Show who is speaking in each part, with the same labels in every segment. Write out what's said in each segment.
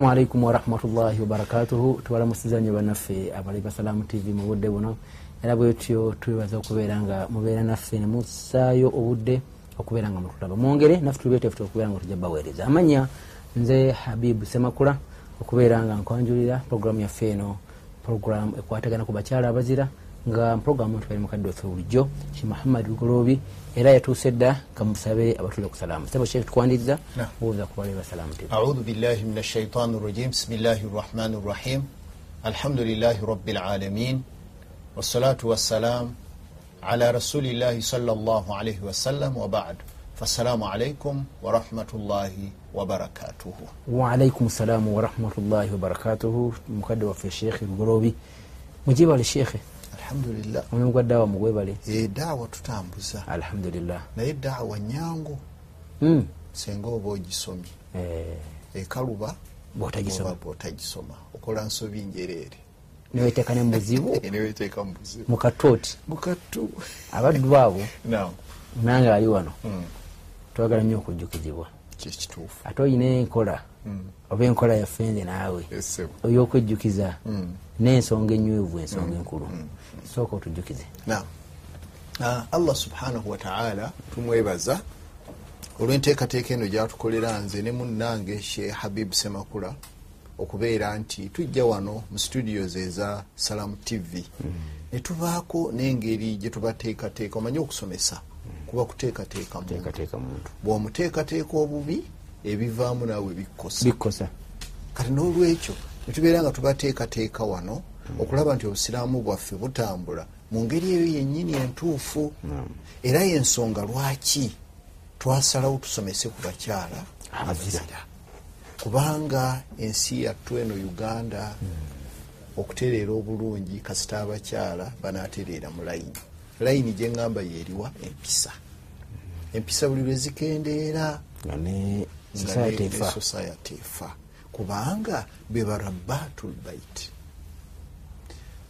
Speaker 1: alaikum warahmatullahi wabarakatuhu tubalamusizanye bannaffe abali basalamu tv mu budde buno era bwetyo twebaza okubeera nga mubeera naffe nemusaayo obudde okubeera nga mutulaba mwongere naffe tubetefuta okubeera nga tujja baweereza amanya nze habibu semakula okubeera nga nkwanjulira puroguramu yaffe eno puroguramu ekwatagana ku bakyala abazira nga mpuroguramu tubali mukadde waffe bulijjo ki muhammad lugoloobi era yatuuse dda kamusabe abatule okusalamu sebo shekh tukwaniriza buuza ku bali basalamu tv
Speaker 2: أعوذ بالله من الشيطان الرجيم بسم الله الرحمن الرحيم الحمد لله رب العالمين والصلاة والسلام على رسول الله صلى الله عليه وسلم وبعد فالسلام عليكم ورحمة الله وبركاته
Speaker 1: waalaikum salamu warahmatullahi wabarakatuhu mukadde waffe sheekhe lugolobi mujebale sheekhe
Speaker 2: الحمد لله
Speaker 1: omulimu gwa daawa mugwebale
Speaker 2: edaawa tutambuza
Speaker 1: alhamdulillah
Speaker 2: naye edaawa nyangu
Speaker 1: Mm,
Speaker 2: singa oba ogisomye
Speaker 1: eh,
Speaker 2: ekaluba
Speaker 1: bw'otagisoma.
Speaker 2: oba bwotagisoma okola nsobi njereere
Speaker 1: niweteeka ne mubuzibu
Speaker 2: neweteeka mu buzibu
Speaker 1: mukattu oti
Speaker 2: mukatu
Speaker 1: abaddu abo
Speaker 2: nam
Speaker 1: nange ali wano
Speaker 2: Hmm.
Speaker 1: twagala nnyo okujjukizibwa
Speaker 2: kyekituufu
Speaker 1: ate olina enkola
Speaker 2: Hmm.
Speaker 1: oba enkola yaffe nze naawe
Speaker 2: esebo
Speaker 1: ey'okwejjukiza
Speaker 2: Hmm.
Speaker 1: n'ensonga enywevu ensonga enkulu sooka otujjukize
Speaker 2: naam Ah, allah subhanahu wataala tumwebaza olwenteekateeka eno gyatukolera nze ne munnange she habib semakula okubeera nti tujja wano mu studios eza salamu tv netubaako n'engeri gye tubateekateeka omanye okusomesa kuba Hmm. kuteekateeka muntu
Speaker 1: teekateeka muntu
Speaker 2: bw'omuteekateeka obubi ebivaamu naawe bikkosa
Speaker 1: bikkosa
Speaker 2: kati n'olwekyo netubeera nga tubateekateeka wano okulaba nti obusiraamu bwaffe butambula mu ngeri eyo yennyini entuufu era yensonga lwaki twasalawo tusomese ku bakyala
Speaker 1: Abazira.
Speaker 2: abazira kubanga ensi yattu eno uganda okutereera obulungi kasita abakyala banaatereera mu layini layini gyeŋŋamba yeeriwa empisa empisa buli lwezikendeera
Speaker 1: nga ne
Speaker 2: nga
Speaker 1: society
Speaker 2: ne- ne
Speaker 1: efa
Speaker 2: society efa kubanga be barabatul bait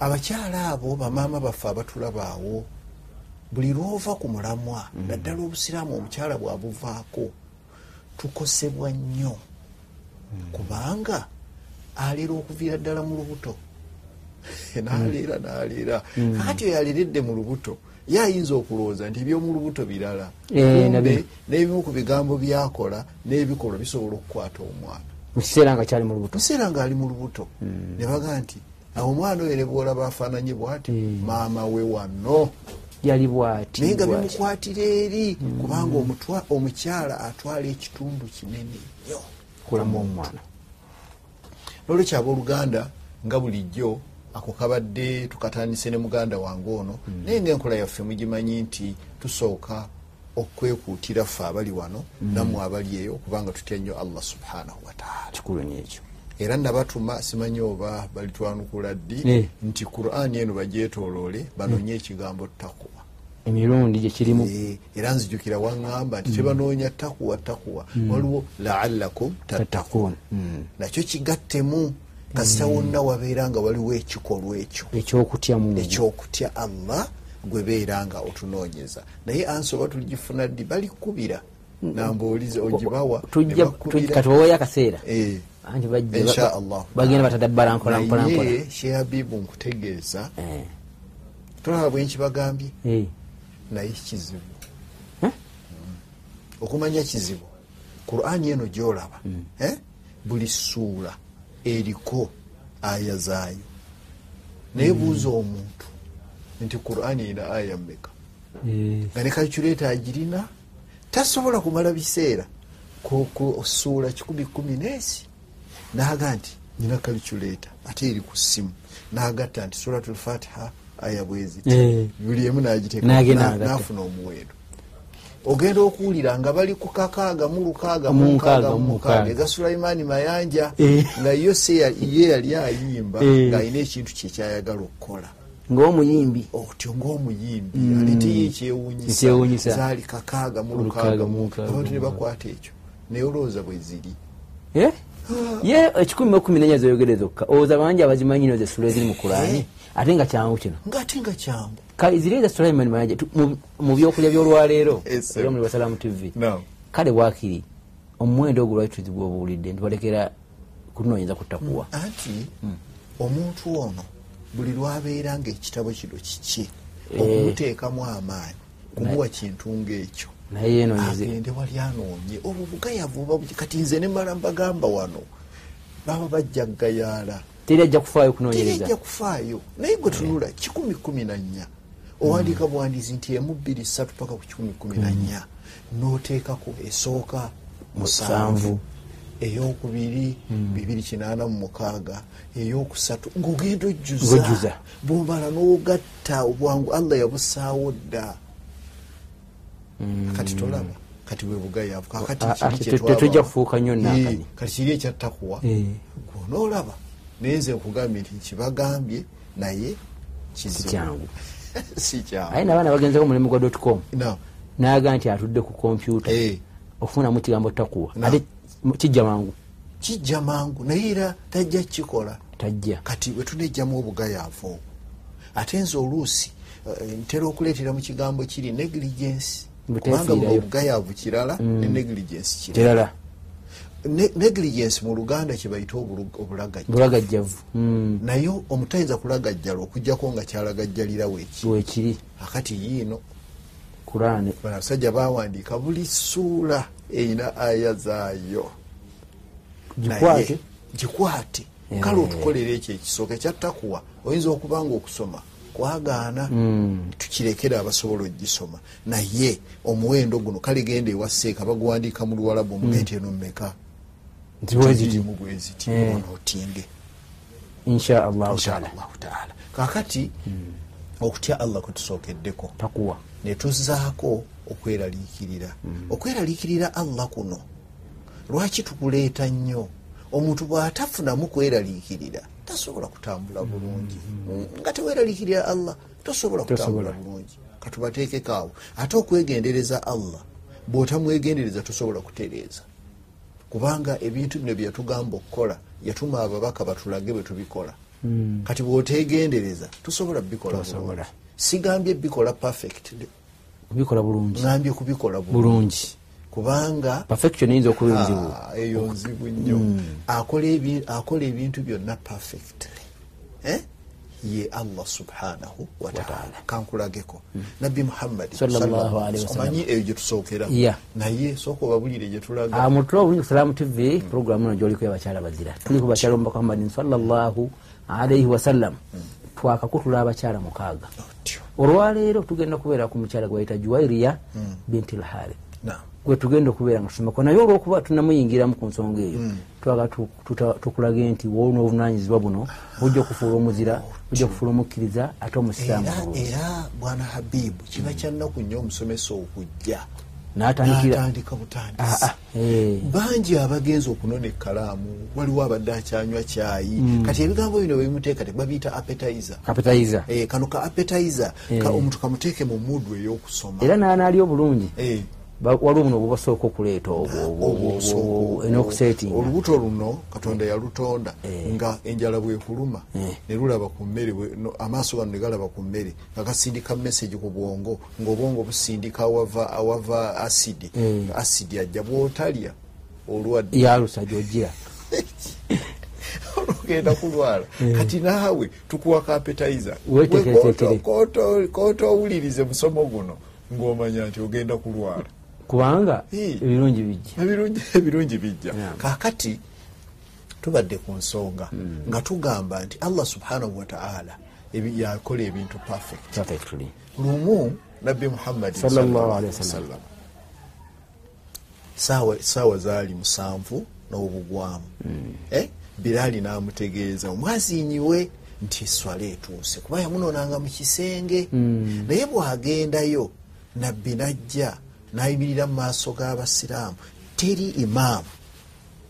Speaker 2: abakyala abo bamaama baffe abatulabaawo buli lwova ku mulamwa naddala obusiraamu omukyala bwabuvaako tukosebwa nnyo
Speaker 1: Hmm.
Speaker 2: kubanga aleera okuviira ddala mu lubuto naleera
Speaker 1: Hmm.
Speaker 2: naleera kati oyo aleredde mu lubuto ye ayinza okulowooza nti ebyomu lubuto birala
Speaker 1: Eh,
Speaker 2: Kumbe,
Speaker 1: nabyo.
Speaker 2: n'ebimu ku bigambo byakola n'ebikolwa bisobola okukwata omwana
Speaker 1: mu kiseera nga kyali mu lubuto
Speaker 2: museera ng'ali mu lubuto
Speaker 1: Hmm.
Speaker 2: ne bagaa nti awo omwana oyo ne bwolaba afaananye bw'ati maama we wano
Speaker 1: yali bwati
Speaker 2: naye nga
Speaker 1: Hmm. bwati. Hmm.
Speaker 2: bimukwatira eri kubanga omutwa- omukyala atwala ekitundu kinene nnyo
Speaker 1: kulamu omwana
Speaker 2: nolwekyo abooluganda nga bulijjo ako kabadde tukatandise ne muganda wange ono naye ngaenkola yaffe mugimanyi nti tusooka okwekuutira ffe abali wano nammwe abali eyo kubanga tutya nnyo allah subhanahu wataala
Speaker 1: kikulu nekyo
Speaker 2: era nabatuma simanyi oba balitwanukula ddi
Speaker 1: Eh.
Speaker 2: nti qur'ani eno bagyetoloole banonye ekigambo takuwa
Speaker 1: emirundi gyekirimu
Speaker 2: Eh, era nzijukira waŋŋamba nti tebanoonya takuwa takuwa waliwo laalakum tattakuun
Speaker 1: tattakuun Mm.
Speaker 2: nakyo kigattemu kasita
Speaker 1: Hmm.
Speaker 2: wonna wabeera nga waliwo ekikolwa ekyo
Speaker 1: ekyokutya mungi
Speaker 2: ekyokutya allah gwebeera nga otunoonyeza naye ansi oba tuligifuna ddi balikubira nambaolize ogibawa ne
Speaker 1: Hmm. tujja
Speaker 2: bakubira.
Speaker 1: tuj- kati baweyo akaseera
Speaker 2: Eh,
Speaker 1: anti bajja ba-
Speaker 2: insha allah
Speaker 1: bagenda batadabbala mpola mpola mpola
Speaker 2: naye shehabibu nkutegeeza tolaba bwenkibagambye
Speaker 1: Eh,
Speaker 2: naye kizibu
Speaker 1: Eh?
Speaker 2: okumanya kizibu qurani eno gyolaba eh, buli suula eriko aya zaayo naye buuza omuntu nti qurani erina aya mmeka
Speaker 1: eh,
Speaker 2: nga ne kalculeta agirina tasobola kumala biseera kusuula 1 nesi naga nti nina kalculeta ate eri ku ssimu nagatta nti suratulfatiha aya bweziti
Speaker 1: Eh.
Speaker 2: buli emu nagiteeka
Speaker 1: N'agenda
Speaker 2: na-
Speaker 1: agatta.
Speaker 2: n'afuna omuwendo ogenda okuwulira nga bali ku kakaaga mu lukaaga
Speaker 1: Mu
Speaker 2: mu
Speaker 1: nkaaga,
Speaker 2: nkaaga mu
Speaker 1: mu
Speaker 2: mukaaga
Speaker 1: nkaaga.
Speaker 2: ega sulaimaani mayanja
Speaker 1: Eh.
Speaker 2: nga yo se ya- ye yali ayimba
Speaker 1: Eh.
Speaker 2: ng'alina ekintu kyekyayagala okukola
Speaker 1: ngaomuyimbi
Speaker 2: otyo ngaomuyimbi alitiyo ekyewunyisa
Speaker 1: Ekyewunyisa.
Speaker 2: zaali kakaaga mu
Speaker 1: Lukaaga
Speaker 2: lukaaga
Speaker 1: mu
Speaker 2: mu
Speaker 1: nkaaga
Speaker 2: abantu ne
Speaker 1: mu
Speaker 2: bakwata ekyo naye olowooza bwe ziri
Speaker 1: Eh? ye ekikumi mukumi nenya zoyogere zokka oza bangi abazimanyi noze sula eziri mu
Speaker 2: Eh.
Speaker 1: kulani ate nga kyangu kino
Speaker 2: ngaate nga kyangu
Speaker 1: kale zireeza sulaiman manaje mu byokulya byolwaleero
Speaker 2: Ese.
Speaker 1: era muli basalamu tv
Speaker 2: Naam.
Speaker 1: kale bwakiri omuwendo ogwo lwaki tuzibwa obuwulidde ntubalekera kunoyinza kutakuwa
Speaker 2: anti omuntu ono buli lwabeera ngaekitabo kino kiki
Speaker 1: Eh.
Speaker 2: okumuteekamu amaanyi kumuwa kintu ngaekyo
Speaker 1: naye eno nyizi
Speaker 2: agende wali anoonye obwo bugayavu oba buki- kati nze ne mala mbagamba wano baba bajja ggayaala
Speaker 1: teri ajja kufaayo kunoonyereza
Speaker 2: terijja kufaayo naye gwe
Speaker 1: Eh.
Speaker 2: tunula kikumi kumi na nnya
Speaker 1: Mm.
Speaker 2: owandiika bwandizi nti emu bbiri ssatu paka ku kikumi kumi na nnya n'oteekako esooka musanvu
Speaker 1: Mm. Musanvu. Mm.
Speaker 2: eyokubiri bibiri kinaana mu mukaaga eyokusatu ng'ogenda
Speaker 1: Ng'ojjuza.
Speaker 2: ojjuza bwomala n'ogatta obwangu allah yabusaawo dda kati tolaba kati bwe bugayaavu kakati
Speaker 1: Ah, ah,
Speaker 2: kibi
Speaker 1: Mm. te-
Speaker 2: kye twabaamu.
Speaker 1: tetujja kufuuka nnyo nakani.
Speaker 2: Eh, kati kiri ekyattakuwa
Speaker 1: Eh.
Speaker 2: gwonoolaba naye nze nkugambye nti nkibagambye naye kizibu.
Speaker 1: Kyangu.
Speaker 2: si
Speaker 1: aye
Speaker 2: kyangu
Speaker 1: nabaana bagenzeko mulimu gwa dotcom
Speaker 2: Na,
Speaker 1: naga nti atudde ku kompyuta
Speaker 2: eh,
Speaker 1: okufunamu kigambo takuwa
Speaker 2: Na.
Speaker 1: ate kijja mangu
Speaker 2: kijja mangu naye era tajja kukikola
Speaker 1: tajja
Speaker 2: kati wetunejjamu obugayaavu obwo ate nze oluusi eh, ntera okuleetera mu kigambo kiri negligence
Speaker 1: Buteefiirayo.
Speaker 2: kubanga buno obugayaavu kirala ne negligence kirala
Speaker 1: kirala
Speaker 2: Ne- negligence mu luganda kyebayita obulu- obulagajja
Speaker 1: bulagajjavu Mm,
Speaker 2: naye omutayinza kulagajjala okugjako nga kyalagajjalira weeki
Speaker 1: wekiri
Speaker 2: akati yiino
Speaker 1: kurane
Speaker 2: bano abasajja bawandiika buli ssuula erina aya zaayo
Speaker 1: gikwate
Speaker 2: Naye, gikwate
Speaker 1: Eh.
Speaker 2: kale otukolera ekyo ekisooka ekyattakuwa oyinza okuba nga okusoma kwagaana
Speaker 1: Hmm.
Speaker 2: tukirekere abasobola okugisoma naye omuwendo guno kale genda ewa seeka baguwandiika mu luwalabu
Speaker 1: Hmm.
Speaker 2: omugeeti eno mumeka
Speaker 1: ntiweziti
Speaker 2: Tirimu bweziti
Speaker 1: Eh.
Speaker 2: ono otinge
Speaker 1: insha allahu taala
Speaker 2: inshallahu taala kakati
Speaker 1: Hmm.
Speaker 2: okutya allah kwetusookeddeko
Speaker 1: takuwa
Speaker 2: netuzzaako okweraliikirira
Speaker 1: Mhm.
Speaker 2: okweraliikirira allah kuno lwaki tukuleeta nnyo omuntu bw'atafunamu kweraliikirira tasobola kutambula bulungi Mm, nga teweraliikirira allah tosobola kutambula
Speaker 1: Mhm. Tosobola.
Speaker 2: bulungi katubateekeko awo ate okwegendereza allah bw'otamwegendereza tosobola kutereeza kubanga ebintu bino byeyatugamba okukola yatuma ababaka batulage bwe tubikola kati bw'otegendereza tosobola bikola
Speaker 1: Mm. Tosobola.
Speaker 2: bulungi sigambye bikola perfectly
Speaker 1: kubikola bulungi
Speaker 2: ngambye kubikola bulungi
Speaker 1: bulungi
Speaker 2: kubanga
Speaker 1: perfection eyinza okuba enzibu
Speaker 2: Ah, eyo nzibu nnyo
Speaker 1: Mm.
Speaker 2: Akola ebi- akola ebintu byonna perfectly Eh? ye allah subhanahu wataala kankulageko nabbi muhammadi
Speaker 1: Mm. Sallallahu
Speaker 2: sallallahu
Speaker 1: alaihi
Speaker 2: alaihi
Speaker 1: wasallam.
Speaker 2: wasallam. eyo gyetusookera
Speaker 1: Yeah.
Speaker 2: naye sooka obabulire gyetulaga
Speaker 1: Ah, mutula obulungi salaamu tv programu eno gyoliko yabakyala bazira tuliko bakyala omubaka muhammadin salallahu alaihi wasallam twakakutula abakyala mukaaga
Speaker 2: Otyo.
Speaker 1: olwaleero tugenda kubeera ku mukyala gwebayita juwairiya binti lharith
Speaker 2: Na.
Speaker 1: gwe tugenda okubeera nga tusomako naye olwokuba tunamuyingiramu ku nsonga eyo
Speaker 2: Hmm.
Speaker 1: twaga tu- tuta- tukulage nti wooli n'obuvunanyizibwa buno ojja okufuula omuzira ojja okufuula omukkiriza ate omusiraamu
Speaker 2: era
Speaker 1: bulungi
Speaker 2: era bwana habibu kiba kyannaku nnyo omusomesa okujja
Speaker 1: n'atandikira
Speaker 2: n'atandika
Speaker 1: Ah,
Speaker 2: butandisi
Speaker 1: ah, eh.
Speaker 2: bangi abagenza okunona ekkalaamu waliwo abadde akyanywa kyayi
Speaker 1: Hmm.
Speaker 2: kati ebigambo bino webimuteeka tebabiyita appetizer
Speaker 1: kapitaiza
Speaker 2: Eh, kano ka appetizer
Speaker 1: Eh.
Speaker 2: ka omuntu kamuteeke mu mudu ey'okusoma
Speaker 1: era n'anaalya obulungi
Speaker 2: Eh,
Speaker 1: Ba- waliwo buno obubasooka okuleeta obwo
Speaker 2: obwo obusooka obwo.
Speaker 1: n'okuseetinga
Speaker 2: olubuto luno katonda yalutonda nga enjala bwekuluma
Speaker 1: Eh.
Speaker 2: ne lulaba ku mmere bwe- no, amaaso gano ne galaba ku mmere nga gasindika mesagi ku bwongo ng'obwongo busindika awava- awava asidi
Speaker 1: Eh.
Speaker 2: asidi ajja bw'otalya olwadde
Speaker 1: yalusa gyojira
Speaker 2: olugenda kulwala kati naawe tukuwa kapetaiza
Speaker 1: Weteeketeekere.
Speaker 2: kootowulirize musomo guno ng'omanya nti ogenda kulwala
Speaker 1: kubanga
Speaker 2: Eh.
Speaker 1: ebirungi bijja
Speaker 2: Ebirungi- ebirungi bijja
Speaker 1: Yeah.
Speaker 2: kaakati tubadde ku nsonga nga tugamba nti allah subhanahu wataala ebi- yakola ebintu perfect
Speaker 1: perfectly
Speaker 2: lumu nabbi muhammadi
Speaker 1: Sallallahu
Speaker 2: sallallahu
Speaker 1: alaihi
Speaker 2: alaihi wasallam saawa saawa zaali musanvu n'obugwamu Eh, biraali n'amutegeeza omwazinyiwe nti eswala etuuse kuba yamunoonanga mu kisenge naye bw'agendayo nabbi najja n'ayimirira mu maaso g'abasiraamu teri imaamu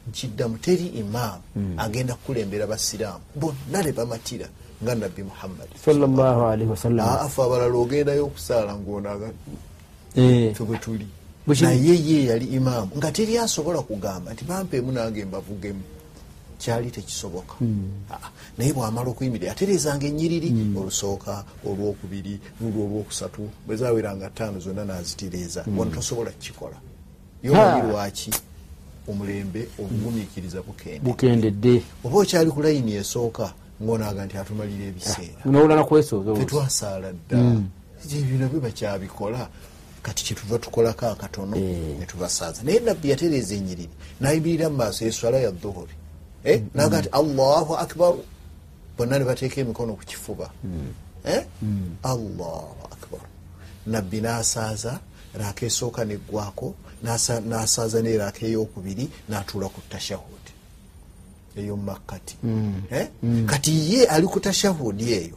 Speaker 2: nkiddamu teri imaamu agenda kukulembera abasiraamu bonna ne bamatira nga nabbi muhammadi
Speaker 1: sallallahu alaihi wasallam
Speaker 2: afe abalala ogendayo okusaala ngaonaga
Speaker 1: Eh,
Speaker 2: ffe bwe tuli
Speaker 1: Bwe kiri.
Speaker 2: naye ye yali imaamu nga teri asobola kugamba nti bampeemu nange mbavugemu kyali tekisoboka
Speaker 1: Hmm.
Speaker 2: Ah, naye bwamala okuyimirira aterezanga ennyiriri olusooka olwokubiri lulwo olwokusatu bwe zaweranga ttaano zonna nazitereeza wano tosobola kukikola
Speaker 1: Hmm. Ha.
Speaker 2: yomanyi lwaki omulembe obugumiikiriza bukende
Speaker 1: bukendedde
Speaker 2: oba okyali ku layini esooka ng'onaaga nti atumalira ebiseera
Speaker 1: nowulana kwesooza oluusi.
Speaker 2: tetwasaala dda ebyo nabyo bakyabikola kati kyetuva tukolako akatono netubasaaza naye nabbi yatereeza enyiriri nayimirira mu maaso eswala ya dhuhuri Eh, naga nti allahu akbaru bonna ne bateeka emikono ku kifuba Eh, allahu akbaru nabbi n'asaaza raaka esooka neggwako n'asa- n'asaaza ne raaka eyokubiri n'atuula ku tashahudi eyomumakkati Eh? kati ye ali ku tashahudi eyo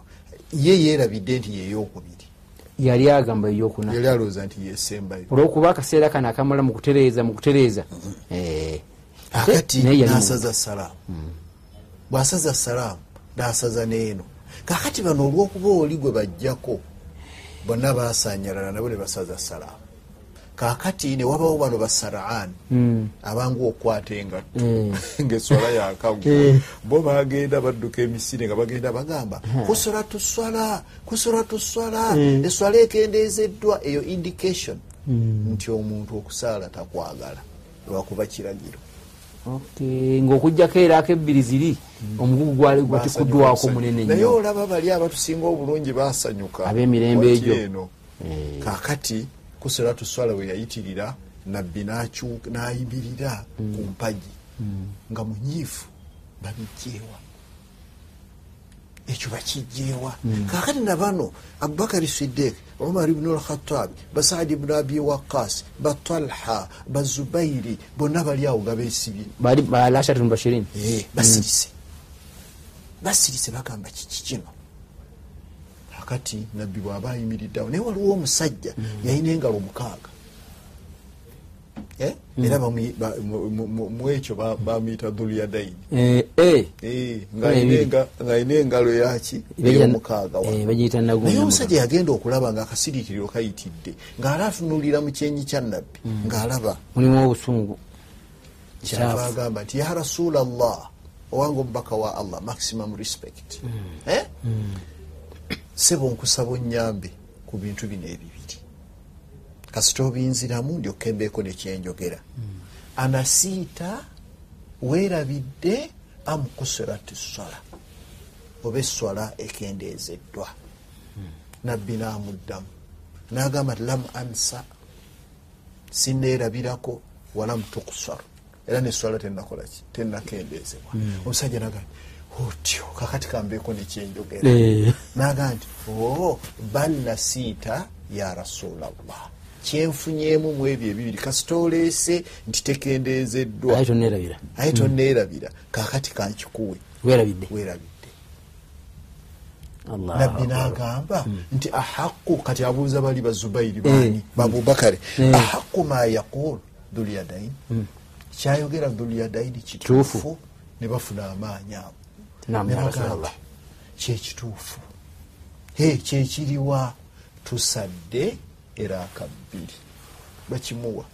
Speaker 2: ye yeerabidde nti yeyokubiri
Speaker 1: yali agamba eyokuna
Speaker 2: yali alowooza nti yesembayo
Speaker 1: olwokuba akaseera kano akamala mu kutereeza mu kutereeza
Speaker 2: Mm-hmm.
Speaker 1: Eh.
Speaker 2: akati
Speaker 1: Naye yali
Speaker 2: nasaza salaamu bwasaza salaamu nasaza neeno kakati bano olwokuba oli gwe bajjako bonna basanyalala nabo ne basaza salaamu kakati newabawo bano basaraani
Speaker 1: Hmm.
Speaker 2: abangu okukwata engatto
Speaker 1: Eh.
Speaker 2: ngaeswala yakaggwa bo bagenda badduka emisiri nga bagenda bagamba
Speaker 1: Eh.
Speaker 2: kusola tuswala kusola tuswala eswala ekendeezeddwa eyo indication
Speaker 1: Hmm.
Speaker 2: nti omuntu okusaala takwagala lwakuba kiragiro
Speaker 1: Okay, ng'okugjako eraako ebbiri ziri omugugu gwali gwatikuddwako
Speaker 2: Basanyuka
Speaker 1: munene
Speaker 2: Mm. naye
Speaker 1: nnyo
Speaker 2: olaba bali abatusinga obulungi basanyuka
Speaker 1: Ab'emirembe
Speaker 2: Waki
Speaker 1: egyo. Eh.
Speaker 2: eno kakati kusera tuswala we yayitirira nabbi n'akyu- n'ayimirira
Speaker 1: Hmm.
Speaker 2: ku mpagi nga munyiifu babijjeewa ekyo bakijjeewa
Speaker 1: Hmm.
Speaker 2: kakati nabano abubakari sidiik omar ibnu alkhatabi basaadi ibnu abi wakas batalha bazubairi bonna bali awo nga beesibye
Speaker 1: bali balashatun bashirin Mm.
Speaker 2: Eh, basirise basirise bagamba kiki kino akati nabbi bw'aba ayimiriddeawo naye waliwo omusajja yalina engalo mukaaga Eh, era bamu- ba- mu- mu- mu- mu ekyo ba- bamuyita dhulyadaini
Speaker 1: Eh, eh,
Speaker 2: Eh,
Speaker 1: Ebiri.
Speaker 2: ng'alina engalo yaki ey'omukaaga
Speaker 1: eh,
Speaker 2: wano
Speaker 1: bagiyita
Speaker 2: naye
Speaker 1: nagunda
Speaker 2: omusajja yagenda okulaba ng'akasiriikiriro kayitidde ng'ala atunuulira mu kyenyi kya nabbi ng'alaba
Speaker 1: mulimu obusungu
Speaker 2: kyava
Speaker 1: Kyafu.
Speaker 2: agamba nti ya rasulllah owange omubaka wa allah maximum respect Eh? sebo nkusaba onyambe ku bintu bino ebibiri kasita obinziramu ndyokembeeko nekyenjogera anasiita weerabidde amukuserati swala oba eswala ekendeezeddwa nabbi n'amuddamu n'agamba nti lam ansa sineerabirako walam tukusar era neswala tenakolaki tenakendezebwa omusajja nagaa otyo kakati kambeeko nekyenjogera
Speaker 1: Eh.
Speaker 2: nagaa nti o bal nasiita ya rasulllah kyenfunyemu mu ebyo ebibiri kasita oleese nti tekendezeddwa
Speaker 1: aye tonerabira
Speaker 2: aye toneerabira kakati kankikuwe
Speaker 1: werabidde
Speaker 2: weerabidde
Speaker 1: allah
Speaker 2: nabbi n'agamba nti ahaqu kati abuuza bali
Speaker 1: Mm.
Speaker 2: bazubairi baani babubakari
Speaker 1: Eh.
Speaker 2: ahaqu ma yaqul dhulyadaini kyayogera dhulyadaini kituufu
Speaker 1: Mm. Kituufu.
Speaker 2: ne bafuna amaanyi abo
Speaker 1: Naam,
Speaker 2: Ne
Speaker 1: ya
Speaker 2: bagamba,
Speaker 1: Rasulallah.
Speaker 2: kyekituufu he kyekiriwa tusadde era akabbiri bakimuwa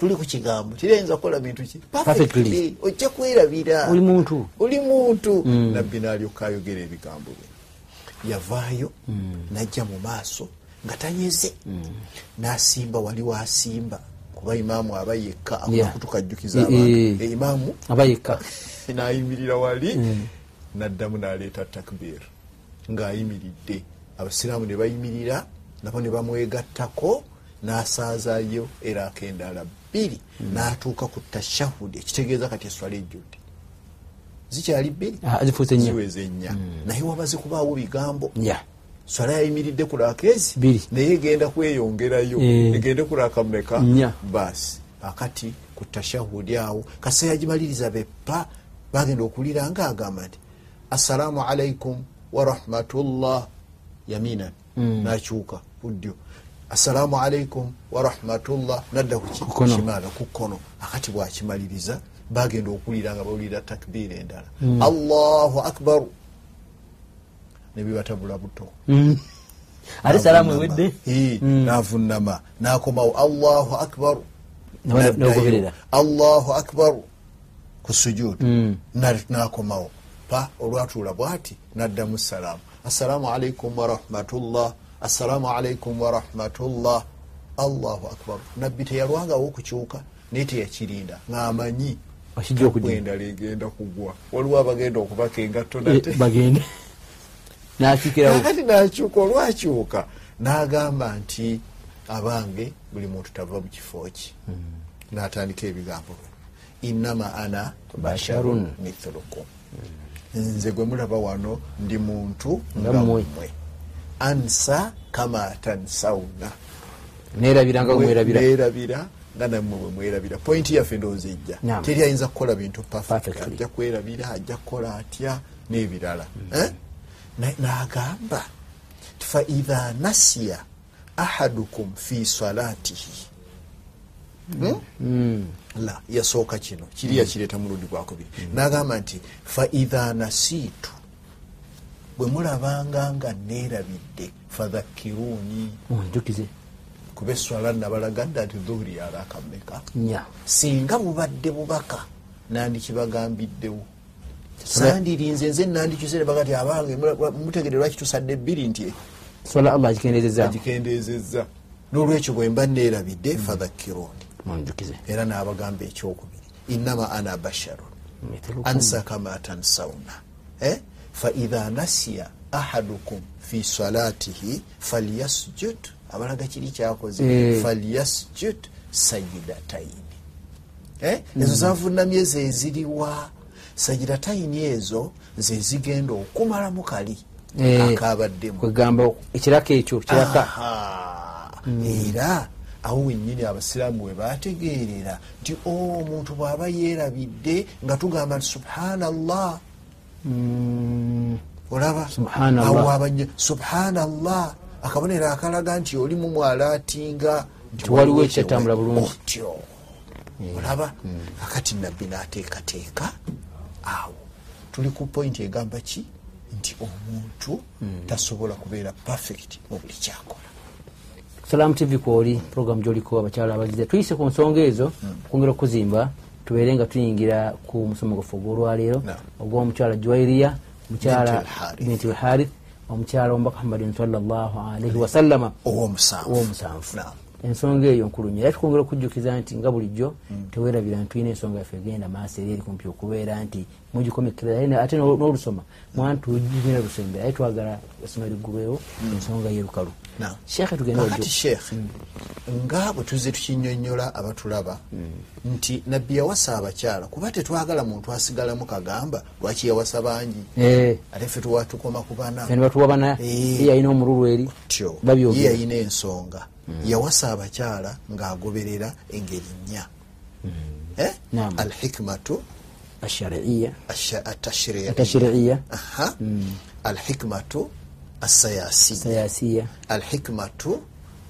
Speaker 2: tuli ku kigambo kirayinza kukola bintu ki
Speaker 1: Mm. Perfectly.
Speaker 2: Perfectly. ojja kwerabira
Speaker 1: Oli muntu.
Speaker 2: oli muntu
Speaker 1: Mm.
Speaker 2: nabbi n'alyoka ayogera ebigambo bye yavaayo
Speaker 1: Mm.
Speaker 2: n'ajja mu maaso nga tanyeze n'asimba wali waasimba kuba imaamu aba yekka
Speaker 1: Yeah.
Speaker 2: akutukajjukiza
Speaker 1: Eh,
Speaker 2: abantu
Speaker 1: eh.
Speaker 2: imaamu
Speaker 1: aba yekka
Speaker 2: n'ayimirira wali n'addamu n'aleeta takbir ng'ayimiridde abasiraamu ne bayimirira nabo ne bamwegattako n'asaazayo eraaka endala bbiri n'atuuka ku tashahudi ekitegeeza kati eswala ejjudde zikyali bbiri
Speaker 1: Ah, zifuuse nnya.
Speaker 2: ziweze ennya naye waba zikubaawo bigambo
Speaker 1: ya
Speaker 2: swala yayimiridde ku raaka ezi
Speaker 1: Bbiri.
Speaker 2: naye egenda kweyongerayo
Speaker 1: Eh.
Speaker 2: egende ku raaka mmeka
Speaker 1: Nnya.
Speaker 2: baasi akati ku tashahudi awo kaseera gimaliriza beppa bagenda okulira nga agamba nti assalaamu alaikum warahmatullah yaminan
Speaker 1: Mm.
Speaker 2: nakyuka ku ddyo assalaamu alaikum warahmatullah nadda ku ki- ku
Speaker 1: Kukono.
Speaker 2: kimaala ku kkono akati bwakimaliriza bagenda okulira nga bawulira takbiira endala
Speaker 1: Mm.
Speaker 2: allahu akbaru nebibatabula buto
Speaker 1: Hmm. ate salaamu ewedde Hmm.
Speaker 2: navunama nakomawo allahu akbaru
Speaker 1: Ne ba- n'ogoberera.
Speaker 2: allahu akbaru ku
Speaker 1: Hmm.
Speaker 2: sujudu nakomawo pa olwatuula bwati naddamu salaamu assalaamu alaikum warahmatullah assalaamu alaikum warahmatullah allahu akbaru nabbi teyalwangawo okukyuka naye teyakirinda ng'amanyi
Speaker 1: Wakijja okujja.
Speaker 2: endala egenda kugwa waliwo abagenda okubaka engatto nate
Speaker 1: Eh, bagende nakiikirawo
Speaker 2: kakati nakyuka olwakyuka n'agamba nti abange buli muntu tava mu kifo ki
Speaker 1: Hmm.
Speaker 2: n'atandika ebigambo bye innama ana
Speaker 1: Basharun.
Speaker 2: basharun mithulukum nze gwe mulaba wano ndi muntu
Speaker 1: Nga
Speaker 2: nga
Speaker 1: mmwe.
Speaker 2: mmwe ansa kama tansawuna
Speaker 1: nerabiranga wemwerabira
Speaker 2: mwerabira nga nammwe bwe mwerabira pointi yaffe ndowooza ejja
Speaker 1: Naam.
Speaker 2: teri ayinza kukola bintu perfect
Speaker 1: Perfectly.
Speaker 2: ajja kwerabira ajja kukola atya n'ebirala Eh? Na- n'agamba ti fa idha nasiya ahadukum fi salatihi Hmm? la yasooka kino kiri yakireeta mulundi gwakubiri n'agamba nti fa idha nasiitu bwe mulabanga nga neerabidde fadhakiruuni
Speaker 1: munjukize
Speaker 2: kuba eswala nabalagadde nti dhuhuri yalakameka
Speaker 1: nya
Speaker 2: singa bubadde bubaka nandikibagambiddewo sandirinze nze nandikyuse ne baga ti abange mula- mutegere lwaki tusadde ebbiri nti
Speaker 1: sola allah agikendezezaamu
Speaker 2: agikendezezza n'olwekyo bwe mba neerabidde fadhakironi
Speaker 1: munjukize
Speaker 2: era n'abagamba ekyokubiri innama ana basharun ansa kama tansauna eh? faidha nasiya ahadukum fi salatihi falyasjud abalaga kiri kyakoze
Speaker 1: Eh.
Speaker 2: falyasjud sajidataini eh?
Speaker 1: Mm.
Speaker 2: ezo zavunamye zeziriwa sajidataini ezo zezigenda okumalamu kali
Speaker 1: Eh.
Speaker 2: akabaddemu
Speaker 1: kwegamba ekiraka ekyo kiraka
Speaker 2: Aha. era awo wennyini abasiraamu we bategeerera nti o omuntu bw'aba yeerabidde nga tugamba nti subhanallah
Speaker 1: Hmm.
Speaker 2: olaba
Speaker 1: Subhanallah.
Speaker 2: Awo aba nnyo, subhanallah akabonero akalaga nti olimu mwalaatinga
Speaker 1: Nti waliwo ekyatambula bulungi. Mm.
Speaker 2: otyo olaba akati nabbi n'ateekateeka awo tuli ku pointi egamba ki nti omuntu
Speaker 1: Mm.
Speaker 2: tasobola kubeera perfect mu buli kyakola
Speaker 1: salamu tv kwoli program gyoliko abakyala abazize tuyise ku nsonga ezo
Speaker 2: Hmm.
Speaker 1: okwongera okuzimba tubeere nga tuyingira ku musomo gwaffe ogwolwaleero
Speaker 2: Naam.
Speaker 1: ogw'omukyala juwairiya mukyala
Speaker 2: Bintul Harith.
Speaker 1: bintul harith omukyala omubaka muhammadin salaalaihi wasallama
Speaker 2: owomusanvu
Speaker 1: owomusanvu
Speaker 2: Naam.
Speaker 1: ensonga eyo nkulu nyo era tukwongera okujjukiza nti nga bulijjo
Speaker 2: Hmm.
Speaker 1: tewerabira nti tulina ensonga yaffe egenda maaso eri eri kumpi okubeera nti mugikomekerera Era ate n'o- n'olusoma
Speaker 2: Hmm.
Speaker 1: mwantugina lusembera aye twagala essomero liggubeewo ensonga yerukalu
Speaker 2: Hmm. Naam.
Speaker 1: sheekhe tugenda
Speaker 2: kakati sheekhe nga bwe tuzze tukinyonnyola abatulaba
Speaker 1: Hmm.
Speaker 2: nti nabbi yawasa abakyala kuba tetwagala muntu asigalamu kagamba lwaki yawasa bangi
Speaker 1: Eh,
Speaker 2: ate ffe tuwa tukoma ku bana
Speaker 1: fene batuwa bana
Speaker 2: Eh.
Speaker 1: ye alina omululu eri
Speaker 2: tyo ye
Speaker 1: babyogera Hmm.
Speaker 2: yayina ensonga yawasa abakyala ng'agoberera engeri nnya Eh?
Speaker 1: Hmm. Naam.
Speaker 2: alhikmatu
Speaker 1: ashariiya
Speaker 2: asha- atashriiya
Speaker 1: atashiriiya
Speaker 2: Aha.
Speaker 1: Hmm.
Speaker 2: alhikmatu asayasiya
Speaker 1: sayasiya
Speaker 2: alhikmatu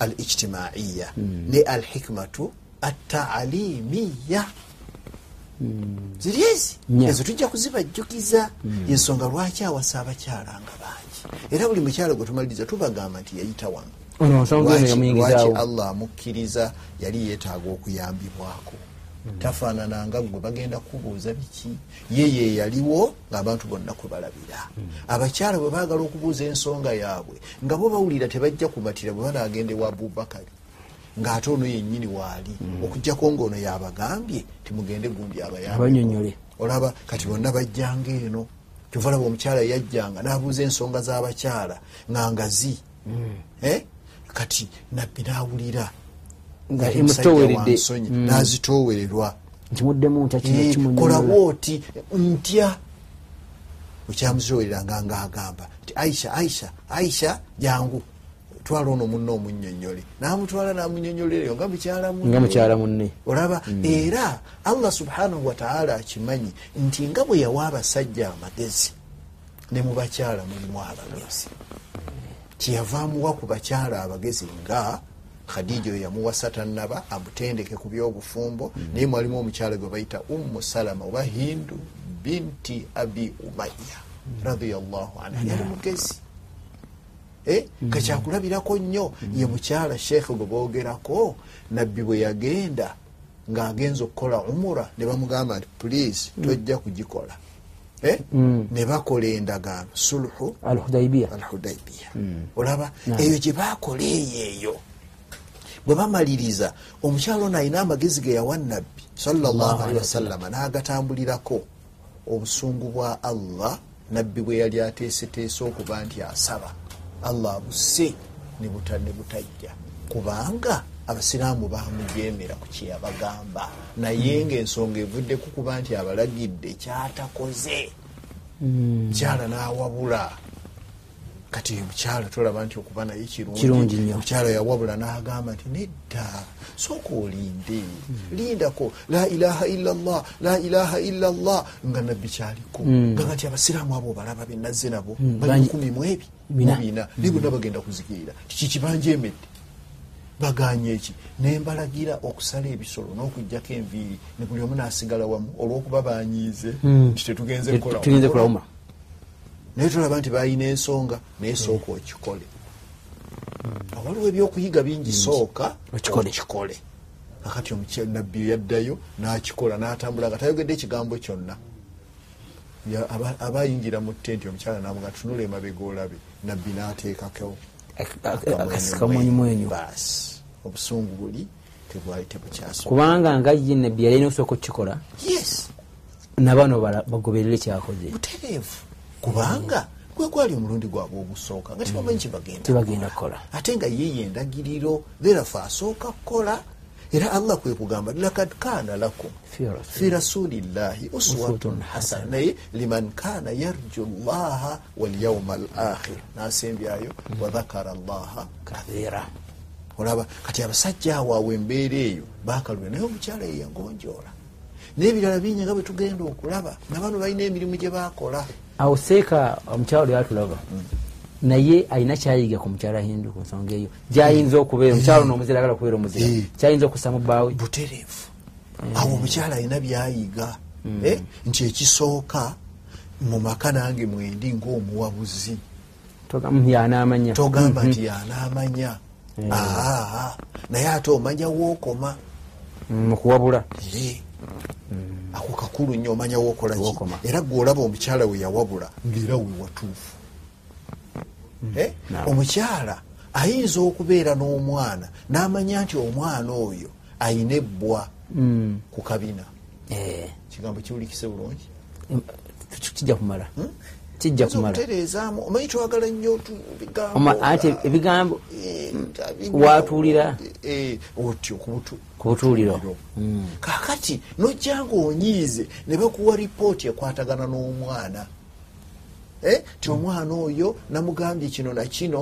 Speaker 2: alijtimaiya ne alhikmatu ataalimiya ziri ezi
Speaker 1: Nya.
Speaker 2: ezo tujja kuzibajjukiza yensonga lwaki awasa abakyala nga bangi era buli mukyala gwe tumaliriza tubagamba nti yayita wano
Speaker 1: ono nsonga eno
Speaker 2: Lwaki- lwaki
Speaker 1: yamuyingizaawo
Speaker 2: allah amukkiriza yali yeetaaga okuyambibwako tafaanananga gwe bagenda kubuuza biki ye ye yaliwo ng'abantu bonna kwe balabira abakyala bwe baagala okubuuza ensonga yaabwe nga bo bawulira tebajja kumatira bwe banaagenda ewa abubakari ng'ate ono yennyini waali okugjako ng'ono yabagambye timugende gundi abayambe
Speaker 1: abanyonyole
Speaker 2: olaba kati bonna bajjanga eno kyova laba omukyala yajjanga n'abuuza ensonga z'abakyala nga ngazi
Speaker 1: Hmm.
Speaker 2: Eh? kati nabbi n'awulira
Speaker 1: Nga
Speaker 2: Yali
Speaker 1: emutooweredde. Mm.
Speaker 2: musajja wa nsonyi, n'azitoowererwa
Speaker 1: nkimuddemu nta kino
Speaker 2: Eh, kola
Speaker 1: kimunyonyola
Speaker 2: bwoti ntya okyamuzitoowerera nga ngaagamba ti aisha aisha aisha jangu twala ono munna omunnyonnyole n'amutwala n'amunyonnyolereyo nga mukyala munne
Speaker 1: nga mukyala munne
Speaker 2: olaba era allah subhanahu wataala akimanyi nti nga bwe yawa abasajja amagezi ne mu bakyala mulimu abagezi kyeyava amuwa ku bakyala abagezi nga khadija oyo yamuwasa tannaba amutendeke ku byobufumbo naye mwalimu omukyala gwe bayita ummu salama oba hindu binti abi umaya radiallahu anha yali mugezi kakyakulabirako Eh? nnyo ye mukyala sheekhe gwe boogerako nabbi bwe yagenda ng'agenza okukola umura ne bamugamba nti please tojja kugikola Eh? ne bakola endagaano sulhu
Speaker 1: alhudaibiya
Speaker 2: alhudaibiya olaba eyo gye bakola eyo eyo bwe bamaliriza omukyalo ono alina amagezi ge yawa nabbi
Speaker 1: Sallallahu
Speaker 2: salllahualihi
Speaker 1: alaihi
Speaker 2: wasallama n'agatambulirako obusungu bwa allah nabbi bwe yali ateeseteese okuba nti asaba allah abuse ne buta- ne butajja kubanga abasiraamu bamujemera ku kyeyabagamba naye ngaensonga evuddeku kuba nti abalagidde kyatakoze mukyala n'awabula kati mukyala tolaba nti okuba naye kirungi
Speaker 1: Kirungi nnyo.
Speaker 2: mukyala yawabula n'agamba nti nedda sooka olinde lindako la ilaha illallah la ilaha illallah nga nabbi kyaliko nga kati abasiraamu abo obalaba benazze nabo bali
Speaker 1: Mm. bangi-
Speaker 2: lukumi mu ebi
Speaker 1: Bina.
Speaker 2: mubina naye bonna bagenda kuzikirira kiki banjemedde baganye eki nembalagira okusala ebisolo n'okugjako enviiri ne buli omu n'asigala wamu olw'okuba banyiize
Speaker 1: Mm.
Speaker 2: nti tetugenze kukola
Speaker 1: tugenze kulawuma
Speaker 2: naye tolaba nti balina ensonga naye sooka okikole awaliwo ebyokuyiga bingi sooka
Speaker 1: Okikole.
Speaker 2: okikole akati omunabbi yaddayo n'akikola n'atambula nga tayogedde ekigambo kyonna Ya- aba- abayingira mu ttenti omukyala namuga tunula emabega olabe nabbi n'ateekako
Speaker 1: akakamwenyumwenyu
Speaker 2: baasi obusungu buli tebwali tebukyaso
Speaker 1: kubanga nga ye nabbi yali alina okusooka okukikola
Speaker 2: yes
Speaker 1: n'abaana obala bagoberere kyakoze
Speaker 2: butereevu kubanga gwe gwali omulundi gwabwe ogusooka nga tebamanyi kyebagenda
Speaker 1: tebagenda kukola
Speaker 2: ate nga yeye endagiriro therafe asooka kukola era allah kwe kugamba lakad kana lakum fi rasulillahi uswatun hasana naye liman kana yarju llaha walyauma al akhir nasembyayo wadhakara llaha kathira olaba kati abasajja awo awo embeera eyo bakalule naye omukyala yeyangonjoola n'ebirala bingi nga bwe tugenda okulaba nga bano balina emirimu gye bakola
Speaker 1: awo seeka omukyalo lyatulaba naye alina kyayiga ku mukyala hindu ku nsonga eyo gyayinza okubeera omukyalo nomuzira agala okubeera omuzira
Speaker 2: Eh.
Speaker 1: kyayinza okussa mu bbaawe
Speaker 2: butereevu awo omukyala alina byayiga eh, nti ekisooka mu maka nange mwendi ng'omuwabuzi
Speaker 1: yanaamanya
Speaker 2: togamba nti yanaamanya aa naye ate omanya wookoma
Speaker 1: Mm, mukuwabula
Speaker 2: Eh, ako kakulu nnyo omanya wookolaki
Speaker 1: Wookoma.
Speaker 2: era gweolaba omukyala we yawabula ngaera we watuufu Eh,
Speaker 1: Naam.
Speaker 2: omukyala ayinza okubeera n'omwana n'amanya nti omwana oyo ayina ebbwa ku kabina
Speaker 1: Mm, Eh,
Speaker 2: kigambo kiwulikise bulungi
Speaker 1: em, kijja kumala
Speaker 2: Hmm?
Speaker 1: kijja kumala
Speaker 2: omutereezaamu omanyi twagala nnyo tu-
Speaker 1: Oma-
Speaker 2: bigambo
Speaker 1: ate
Speaker 2: nga-
Speaker 1: ebigambo
Speaker 2: Eh,
Speaker 1: waatuulira.
Speaker 2: Eh, otyo ku butu
Speaker 1: ku butuuliro
Speaker 2: Ero.
Speaker 1: Mm.
Speaker 2: kaakati nojja ngaonyiize ne bakuwa lipooti ekwatagana n'omwana Eh,
Speaker 1: Mm.
Speaker 2: ti omwana oyo namugambye kino nakino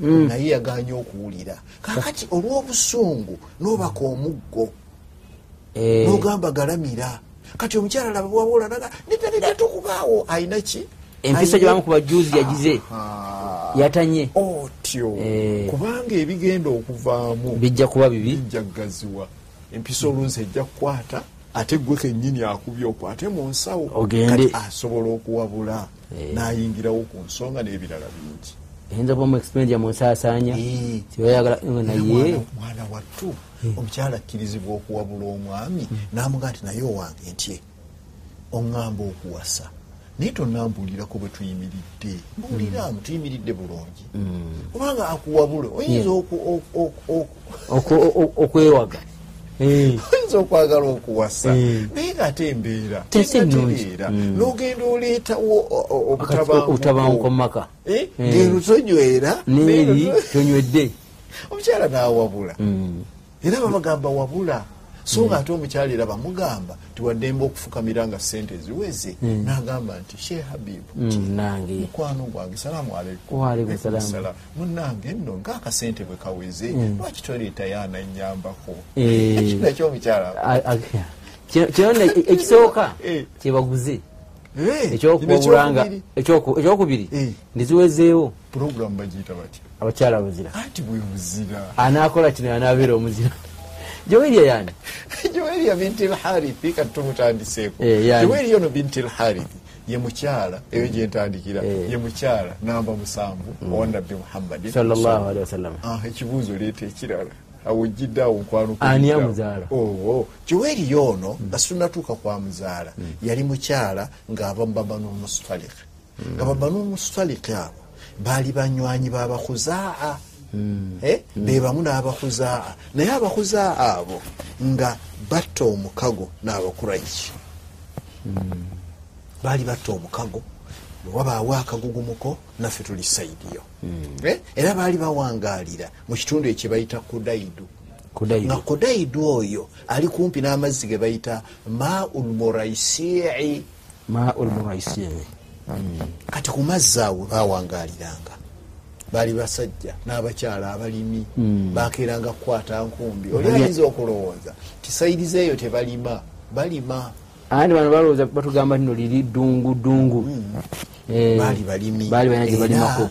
Speaker 1: Mm.
Speaker 2: naye yaganye okuwulira kaakati olw'obusungu n'obaka omuggo
Speaker 1: Eh,
Speaker 2: nogamba galamira kati omukyala laba bwawola naga nitalegatukubaawo alina ki
Speaker 1: empiso
Speaker 2: Alina-
Speaker 1: gyebamukuba juzi yagize
Speaker 2: Ah,
Speaker 1: yatanye
Speaker 2: otyo
Speaker 1: Eh.
Speaker 2: kubanga ebigenda okuvaamu
Speaker 1: bijja kuba bibi
Speaker 2: bijja kugaziwa empisa olunsi ejja kukwata ate gwe kennyini akubye okwate mu nsawo
Speaker 1: Ogende. Eh.
Speaker 2: Kati asobola okuwabula n'ayingirawo ku nsonga n'ebirala bingi
Speaker 1: eyinza kuba mu expendia munsaasaanya
Speaker 2: Eh.
Speaker 1: tibayagala
Speaker 2: Era
Speaker 1: naye
Speaker 2: mwana- mwana wattu omukyala akkirizibwa okuwabula omwami n'amugaa nti naye owange ntye oŋŋamba okuwasa naye tonambuulirako bwe tuyimiridde mbuuliramu tuyimiridde bulungi kubanga akuwabule oyinza oku- oku- oku- oku-
Speaker 1: oku- o- o- okwewaga Eh,
Speaker 2: oyinza okwagala okuwasa
Speaker 1: Mm.
Speaker 2: naye ngaate embeera
Speaker 1: Tesi nnungi.
Speaker 2: tenatereera n'ogenda oleetawo o- o- obutabanguko.
Speaker 1: obutabanguko mu maka
Speaker 2: Eh,
Speaker 1: Eh.
Speaker 2: ng'eno tonywera
Speaker 1: neeri
Speaker 2: n'eno to-
Speaker 1: tonywedde
Speaker 2: omukyala n'awabula
Speaker 1: Hmm. Mm,
Speaker 2: era babagamba wabula so nga ate omukyala era bamugamba tiwaddembe okufukamira nga sente ziweze
Speaker 1: Hmm.
Speaker 2: n'agamba nti she habibu
Speaker 1: Mm, nange
Speaker 2: mukwano gwange salaamu aleikum
Speaker 1: Wa aleikum salaam. Hmm.
Speaker 2: Salaam. munnange nno ngaakasente bwe kaweze lwaki toleetayo anannyambako
Speaker 1: Eh.
Speaker 2: kinakyomukyala
Speaker 1: A- a- kino- kino nno e- ekisooka
Speaker 2: Eh.
Speaker 1: kyebaguze
Speaker 2: Eh,
Speaker 1: ekyokubulanga
Speaker 2: ekyokubiri.
Speaker 1: ekyokubiri
Speaker 2: Eh.
Speaker 1: ndiziwezeewo
Speaker 2: pulogulamu bagiyita batya
Speaker 1: abakyala abazira
Speaker 2: anti bwe buzira
Speaker 1: anaakola kino yanaabeera omuzira joeriya yani
Speaker 2: joeriya binti lharithi kati tumutandiseeko
Speaker 1: Eh, yani.
Speaker 2: joeriya ono binti lharithi ye mukyala eyo gyentandikira
Speaker 1: Eh. Mm.
Speaker 2: ye mukyala namba musanvu owanabbi muhammadi
Speaker 1: sallallahu alihi wasallama
Speaker 2: Ah, ekibuuzo leeta ekirala awojjidde awo nkwano
Speaker 1: Ani amuzaala?
Speaker 2: oo joeriya ono nga sunatuuka kwa muzaala yali mukyala ng'aba mu babanumustalik nga babanumustalik abo baali banywanyi b'abakuzaa Eh, bebamu n'abakuzaa naye abakuza abo nga batta omukago n'abakuraki baali batta omukago wabaawo akagugumuko naffe tuli saidiyo era baali bawangaalira mu kitundu ekyo bayita kudaidu nga
Speaker 1: kudaidu
Speaker 2: kudaidu oyo ali kumpi n'amazzi ge bayita maul muraisii
Speaker 1: ma olmuraisiri
Speaker 2: kati ku mazzi awo bawangaaliranga baali basajja n'abakyala abalimi bakeeranga kukwata nkumbi oli
Speaker 1: Balya-
Speaker 2: ayinza okulowooza tisairiza eyo tebalima balima
Speaker 1: anti bano balowooza batugamba tino liri ddungu ddungu Eh,
Speaker 2: Mm. baali balimi
Speaker 1: baali balina gye
Speaker 2: Era
Speaker 1: balimako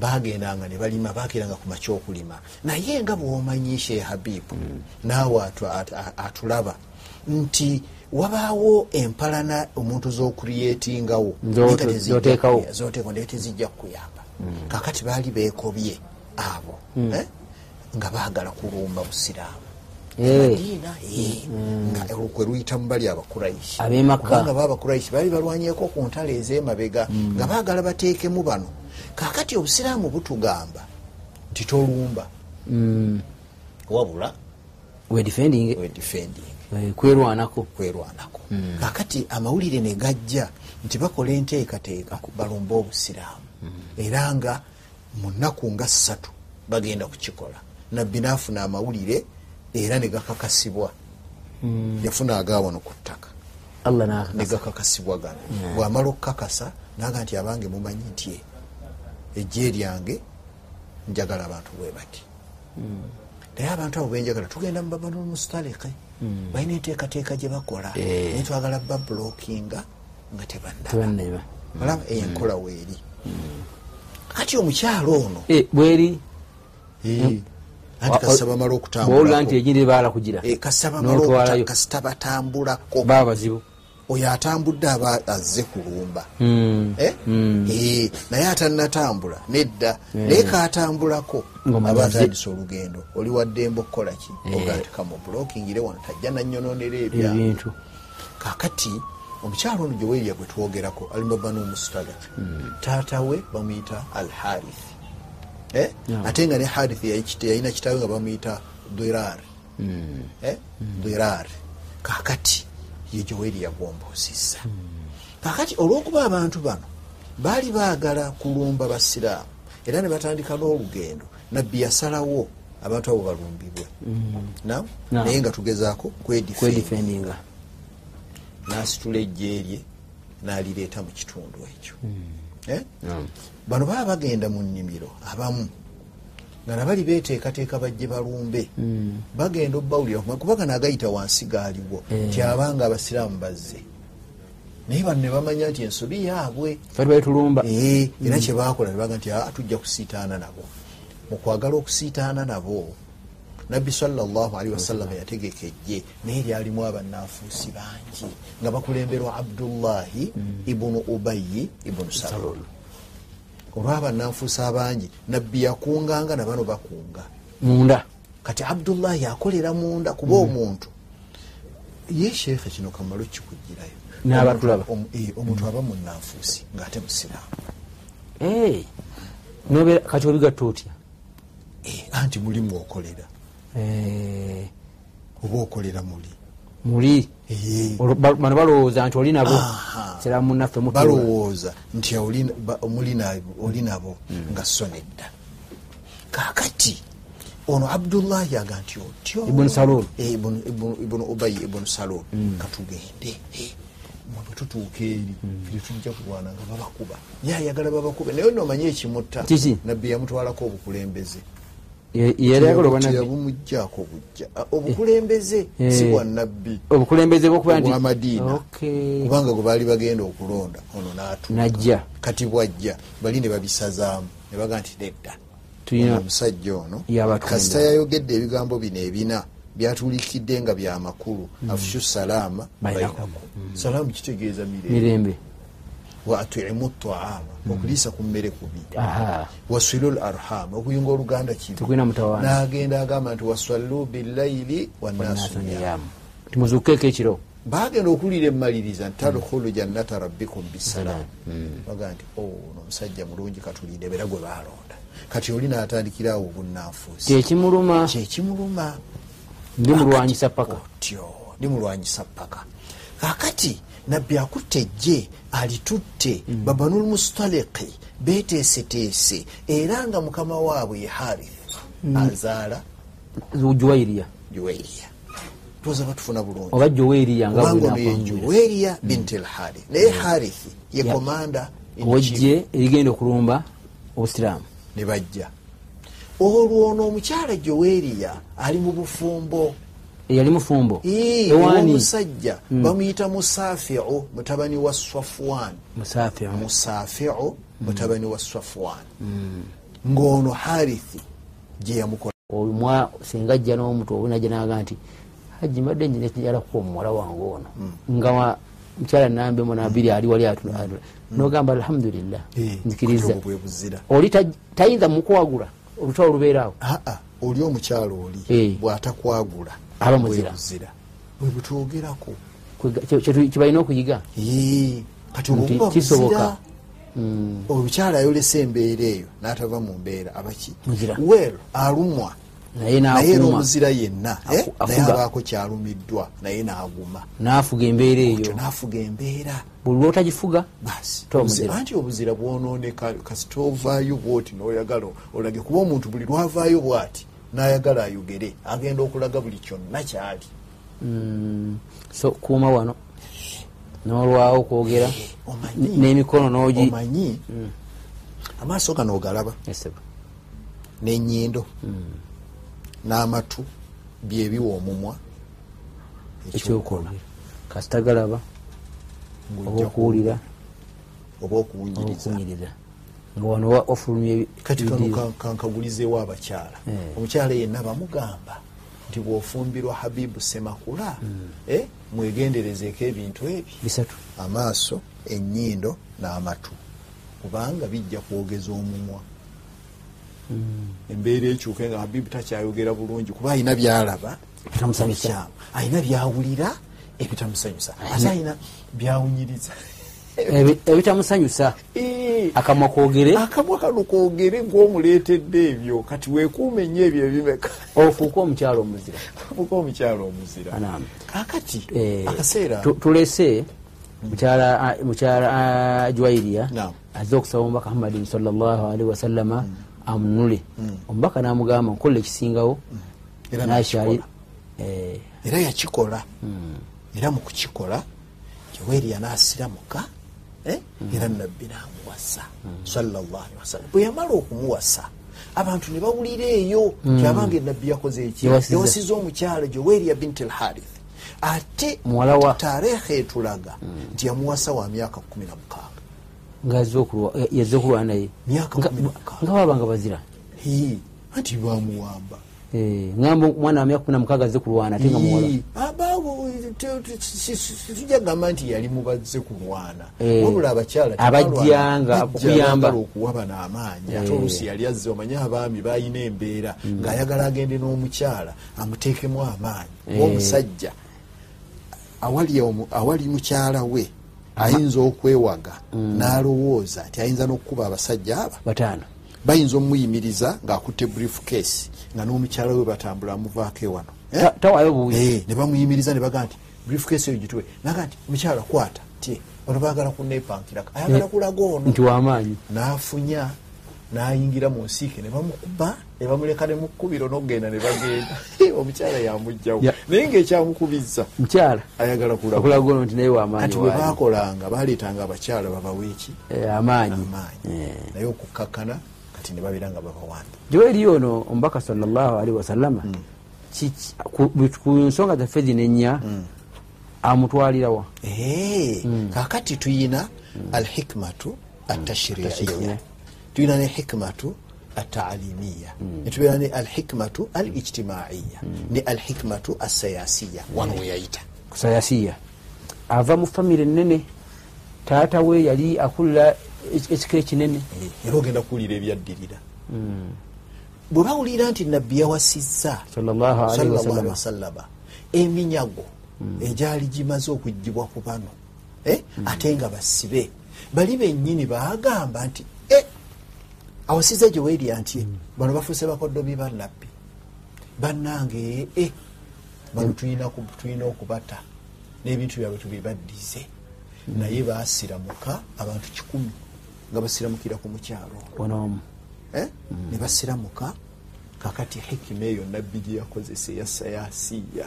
Speaker 2: bagendanga ne balima bakeranga ku makya okulima naye nga bwomanyi shee habibu
Speaker 1: Hmm.
Speaker 2: naawe atu- atu- atulaba nti wabaawo empalana omuntu zokuliyetingawo
Speaker 1: Zo- zoteekawo. Hmm.
Speaker 2: zoteekawo naye tezijja kukuyamba kakati baali beekobye abo eh, nga baagala kulumba busiraamu
Speaker 1: Eh.
Speaker 2: Madiina, eh, nga olukwe luyita mu bali abakurayishi
Speaker 1: Ab'e Makka.
Speaker 2: Kubanga nga baabakuraishi baali balwanyeko ku ntalo ez'emabega nga baagala bateekemu bano kaakati obusiraamu butugamba nti tolumba
Speaker 1: mm.
Speaker 2: wabula
Speaker 1: wedifending
Speaker 2: wedifending
Speaker 1: Eh, kwerwanako
Speaker 2: kwerwanako kaakati amawulire ne gajja nti bakola enteekateeka balumbe obusiraamu era nga mu nnaku nga ssatu bagenda kukikola nabbi naafuna amawulire era ne gakakasibwa yafuna agaawano ku ttaka
Speaker 1: allah nakakasa
Speaker 2: negakakasibwa gano bwamala okukakasa naga nti abange mumanyi nti "Eh, ejje lyange njagala abantu bwe bati
Speaker 1: Hmm.
Speaker 2: naye abantu abo benjagala tugenda mubabanulmustalike
Speaker 1: Hmm.
Speaker 2: balina enteekateeka gye bakola naye twagala babulookinga nga "Eh, tebandaa
Speaker 1: tebanaiba
Speaker 2: olaba
Speaker 1: Hmm.
Speaker 2: enkola weeri kati omukyalo ono
Speaker 1: Eh, bweri
Speaker 2: anti
Speaker 1: Wa-
Speaker 2: kasa bamala
Speaker 1: bwowulira nti
Speaker 2: okutambulako Eh,
Speaker 1: egindi baala kugira
Speaker 2: kasa bamala
Speaker 1: notwalayo
Speaker 2: okuta- kasita batambulako
Speaker 1: baba bazibu
Speaker 2: oyo atambudde aba azze kulumba
Speaker 1: Mm.
Speaker 2: Eh? Eh, naye atanatambula nedda naye kaatambulako
Speaker 1: Ng'omaze
Speaker 2: aba
Speaker 1: azze.
Speaker 2: atandisa olugendo oli waddembe okukolaki ogatekamublokingire wano tajja nanyononera ebya
Speaker 1: ebintu
Speaker 2: kakati omukyalo ono gyeweerya gwe twogerako alimabanumustalaki taata we bamuyita al harithi Eh?
Speaker 1: Yeah.
Speaker 2: ate nga ne harithi yali kit- yalina kitaawe nga bamuyita dirar
Speaker 1: Hmm.
Speaker 2: Eh? dirar kakati ye gyeweri yagomboozizza kakati olw'okuba abantu bano baali baagala kulumba basiraamu era ne batandika n'olugendo nabbi yasalawo abantu abo balumbibwe Naam?
Speaker 1: Hmm. Naam.
Speaker 2: naye nga tugezaako kwedifendi
Speaker 1: kwedifendinga
Speaker 2: n'asitula ejje lye n'alireeta mu kitundu ekyo Eh? bano baba bagenda mu nnimiro abamu nga nabali beteekateeka bajje balumbe bagenda obbawulira kuma- kuba gano agayita wansi gaaliwo kyabanga abasiraamu bazze naye bano ne bamanya nti ensobi yaabwe
Speaker 1: ffe tubali tulumba
Speaker 2: Eh, era kyebakola nebaga nti "Ah, tujja kusiitaana nabo mukwagala okusiitaana nabo nabbi salllahalihi wasallama yategeka ejje naye lyalimu abananfuusi bangi nga bakulemberwa abdullahi ibunu ubayi ibunu salul olwabananfuusi abangi nabbi yakunganga nabano bakunga
Speaker 1: munda
Speaker 2: kati abdullahi akolera munda kuba omuntu ye sheekhe kino kamalo kikugirayo
Speaker 1: N'abatulaba.
Speaker 2: Omu- eh, omuntu aba munanfuusi ngaate musiraamu
Speaker 1: Eh, nobeera kati obigatta otya
Speaker 2: Eh, anti muli mwokolera
Speaker 1: Eh,
Speaker 2: oba okolera muli
Speaker 1: muli
Speaker 2: Eh,
Speaker 1: Olwo ba- bano balowooza nti oli nabo
Speaker 2: Aha.
Speaker 1: sera munaffe mutuula
Speaker 2: balowooza nti oli- ba- muli na- oli nabo
Speaker 1: Hmm.
Speaker 2: nga so nedda kaakati ono abdullahi aga nti otyo
Speaker 1: Ibn Salul. Hmm.
Speaker 2: Eh, ibunu ibunu- ibunu ubayi ibunu salul katugende Eh, mwe bwe tutuuka eri
Speaker 1: Hmm.
Speaker 2: fire tujja kulwana nga babakuba ye ayagala babakube naye nomanye ekimutta
Speaker 1: Kiki?
Speaker 2: nabbi yamutwalako obukulembeze
Speaker 1: Ye- yeyayagala obwanabbi
Speaker 2: yabumugjaako obujja Ah, obukulembeze si
Speaker 1: Eh.
Speaker 2: bwa nabbi
Speaker 1: obukulembeze bwokuba nti
Speaker 2: obwamadiina
Speaker 1: Okay.
Speaker 2: kubanga gwe baali bagenda okulonda ono n'atuuka
Speaker 1: najja
Speaker 2: kati bwajja bali ne babisazaamu ne baga nti nedda
Speaker 1: tulina
Speaker 2: omusajja ono
Speaker 1: Y'abatunda.
Speaker 2: kasita yayogedde ebigambo bino ebina byatuulikidde nga byamakulu
Speaker 1: Hmm.
Speaker 2: afshu salaama
Speaker 1: Bainakum.
Speaker 2: bainakum.
Speaker 1: Hmm.
Speaker 2: salaamu kitegeeza mirembe
Speaker 1: mirembe
Speaker 2: wa atimu taama okuliisa ku mmere kubi
Speaker 1: Hmm. aha
Speaker 2: wasilu l arham okuyunga oluganda kibi
Speaker 1: tekulina mutawaana
Speaker 2: n'agenda agamba nti wasallu billaili wannaasu niyamu
Speaker 1: timuzuukeeko ekiro
Speaker 2: bagenda okuwulira emaliriza ntalkhulu jannata rabbikum bisalaamu
Speaker 1: Hmm.
Speaker 2: baga nti "Oh, ono omusajja mulungi katulinde beera gwe baalonda kati oli naatandikiraawo obunanfuusi
Speaker 1: kyekimuluma
Speaker 2: kyekimuluma
Speaker 1: ndimulwanyisa paka
Speaker 2: otyo ndimulwanyisa paka kakati nabbi akutte ejje alitutte
Speaker 1: Hmm.
Speaker 2: babanulmustaliki beteeseteese era nga mukama waabwe ye harith
Speaker 1: Hmm.
Speaker 2: azaala
Speaker 1: juwairiya
Speaker 2: juweriya tuza batufuna bulungi
Speaker 1: oba joweiriya nga
Speaker 2: kubanga ono
Speaker 1: bwena
Speaker 2: ye
Speaker 1: akwambula.
Speaker 2: juweriya binti lharith naye harithi ye
Speaker 1: Mm. Ya.
Speaker 2: komanda in chief.
Speaker 1: wejje erigenda okulumba obusiraamu
Speaker 2: ne bajja olwo ono omukyala joweeriya ali mu bufumbo
Speaker 1: eyali mufumbo
Speaker 2: Ii,
Speaker 1: ewaani
Speaker 2: omusajja
Speaker 1: Mm.
Speaker 2: bamuyita musafiu mutabani wa swafuwan
Speaker 1: Mm. musaafi
Speaker 2: musafiu
Speaker 1: Mm.
Speaker 2: mutabani wa swafuwan ng'ono harithi gye yamukola
Speaker 1: omwa singa ajja n'omutu obunajja naga nti haji mbadde nyina ekijalakuba omuwala wange ono
Speaker 2: Hmm.
Speaker 1: nga wa- mukyala nambemu nabiri ali wali atula atula. nogamba alhamdulillah nzikiriza
Speaker 2: bwe buzira
Speaker 1: oli taj- tayinza mukwagula olutalo lubeeraawo
Speaker 2: aa oli omukyala oli
Speaker 1: Eh.
Speaker 2: bw'atakwagula
Speaker 1: Aba muzira.
Speaker 2: bwe buzira bwe butwogerako
Speaker 1: kyebalina okuyiga
Speaker 2: Ee, kati
Speaker 1: Nti
Speaker 2: obuba
Speaker 1: kisoboka.
Speaker 2: buzira
Speaker 1: Mm.
Speaker 2: omukyala ayolesa embeera eyo n'atava mu mbeera abaki
Speaker 1: Muzira.
Speaker 2: weero alumwa
Speaker 1: naye
Speaker 2: naye era
Speaker 1: n'akuma
Speaker 2: omuzira yenna eh,
Speaker 1: Aku-
Speaker 2: naye
Speaker 1: afuga.
Speaker 2: abaako kyalumiddwa naye n'aguma
Speaker 1: n'afuga embeera
Speaker 2: kyo
Speaker 1: eyo
Speaker 2: n'afuga embeera
Speaker 1: buli lwotagifuga
Speaker 2: basi
Speaker 1: Tova
Speaker 2: Obuzira-
Speaker 1: muzira.
Speaker 2: anti obuzira bwonooneka kasita ovaayo bwoti noyagala olage kuba omuntu buli lwavaayo bw'ati n'ayagala ayogere agenda okulaga buli kyonna kyali
Speaker 1: Mm, so kuuma wano n'olwawo okwogera
Speaker 2: Eh, omanyi
Speaker 1: n'emikono n'ogi
Speaker 2: omanyi amaaso gano ogalaba
Speaker 1: Esebo.
Speaker 2: n'ennyindo
Speaker 1: Hmm.
Speaker 2: n'amatu byebiwa omumwa
Speaker 1: ekyokola kasita galaba oba okuwulira
Speaker 2: oba
Speaker 1: oba
Speaker 2: okuwunyiriza
Speaker 1: okuwunyiriza nga wano wa- wafulumya ebi-
Speaker 2: kati kano
Speaker 1: ebidiiro.
Speaker 2: ka- kankagulizeewo abakyala
Speaker 1: Eh.
Speaker 2: omukyala yenna bamugamba nti bw'ofumbirwa habibu semakula
Speaker 1: Hmm.
Speaker 2: eh, mwegenderezeeko ebintu ebyo
Speaker 1: bisatu
Speaker 2: amaaso ennyindo n'amatu kubanga bijja kwogeza omumwa
Speaker 1: Hmm.
Speaker 2: embeera ekyuke nga habibu takyayogera bulungi kuba alina byalaba
Speaker 1: Ebitamusanyusa.
Speaker 2: ebikyamu. alina byawulira ebitamusanyusa ate alina byawunyiriza
Speaker 1: Ebi- ebitamusanyusa
Speaker 2: Ee,
Speaker 1: akamwa kwogere
Speaker 2: akamwa kano kwogere gwomuleetedde ebyo kati weekuume nnyo ebyo ebimeka
Speaker 1: ofuuke omukyalo omuzira
Speaker 2: muka omukyala omuzira
Speaker 1: Anaamu.
Speaker 2: kakati
Speaker 1: Eh,
Speaker 2: akaseera
Speaker 1: tu- tulese mukyala ah, mukyala ah, jwairiya
Speaker 2: Naam. Mm.
Speaker 1: azze okusaba omubaka muhammadin salllahalihi wasallama amunule omubaka n'amugamba nkola ekisingawo
Speaker 2: Mm. Era
Speaker 1: nakyali eh,
Speaker 2: n'akikola. era yakikola era mu kukikola joweriya n'asiramuka eh, era nabbi n'amuwasa salwasalam bwe yamala okumuwasa abantu ne bawulira eyo
Speaker 1: Hmm.
Speaker 2: kyabanga enabbi yakoze eki
Speaker 1: Yawasiza.
Speaker 2: yawasiza omukyala joweriya binti lharith ate
Speaker 1: Muwala wa. Hmm.
Speaker 2: tareekha etulaga nti yamuwasa wa myaka 16
Speaker 1: ngaazze okulwana eh, naye
Speaker 2: Myaka
Speaker 1: Nga-
Speaker 2: kumi na mukaaga.
Speaker 1: nga babanga bazira
Speaker 2: Hii, anti bamuwamba
Speaker 1: Eh, ngamba omwana wa myaka kumi na mukaaga azze kulwana ate nga muwala
Speaker 2: abaawo tujagamba nti yali mubazze kulwana
Speaker 1: Eh.
Speaker 2: wabula abakyala
Speaker 1: Abajjanga okuyamba.
Speaker 2: okuwa bano amaanyi ate
Speaker 1: Eh. Mm.
Speaker 2: oluusi yali azze omanye abaami balina embeera ng'ayagala agende n'omukyala amuteekemu amaanyi
Speaker 1: Eh.
Speaker 2: omusajja awali omu- awali mukyala we ayinza okwewaga
Speaker 1: Mm.
Speaker 2: n'alowooza nti ayinza n'okukuba abasajja aba
Speaker 1: bataano
Speaker 2: bayinza omuyimiriza ng'akutte brief case nga n'omukyala we batambula amuvaako ewano Eh?
Speaker 1: Ta- tawaayo buwuzi
Speaker 2: Eh, ne bamuyimiriza ne baga nti brief case eyo gituwe naga nti mukyala kwata ti bano baagala kuneepankiraka ayagala
Speaker 1: Eh.
Speaker 2: kulaga ono
Speaker 1: nti wamaanyi
Speaker 2: n'afunya n'ayingira mu nsiike ne bamukuba ne bamuleka ne mukkubiro n'okugenda ne bagenda Eh, omukyala yamugjawo
Speaker 1: Ya.
Speaker 2: naye ng'ekyamukubizza
Speaker 1: mukyala
Speaker 2: ayagala kulaga
Speaker 1: okulaga ono nti naye wamaanyi
Speaker 2: kati bwe
Speaker 1: waali.
Speaker 2: baakolanga baaleetanga abakyala babawa eki
Speaker 1: Eh, amaanyi
Speaker 2: amaanyi naye okukkakkana kati ne babeera nga babawambi
Speaker 1: joeri ono omubaka salllahalihi wasalama kiki- ku- ku nsonga zaffe zino ennya amutwalirawa
Speaker 2: Ee, kakati tuyina alhikmatu atashriiya
Speaker 1: Atashriiya.
Speaker 2: tuyina ne hikmatu ataalimiya netubeera ne alhikmatu al ijtimaiya ne alhikmatu asayasiya wano weyayita
Speaker 1: kusayasiya ava mu famire enene taata we yali akulira ek- ekika ekinene
Speaker 2: era ogenda kuwulira ebyaddirira
Speaker 1: Hmm.
Speaker 2: bwe bawulira nti nabbi yawasizza
Speaker 1: Sallallahu alayhi Hmm. wasallam.
Speaker 2: sallallahu alayhi wasallama eminyago egyali gimaze okugibwa ku bano Eh,
Speaker 1: Hmm.
Speaker 2: ate nga basibe bali bennyini baagamba nti "Eh, awasiza gye weerya nti
Speaker 1: Hmm.
Speaker 2: bano bafuuse bakoddomi bannabbi bannange eh, ee bano tulina ku- tulina okubata n'ebintu byabwe tubibaddize naye baasiramuka abantu kikumi nga basiramukira ku mukyalo
Speaker 1: onoomu
Speaker 2: Eh? ne basiramuka kakati hikima eyo nabbi gye yakozesa eya sayansiya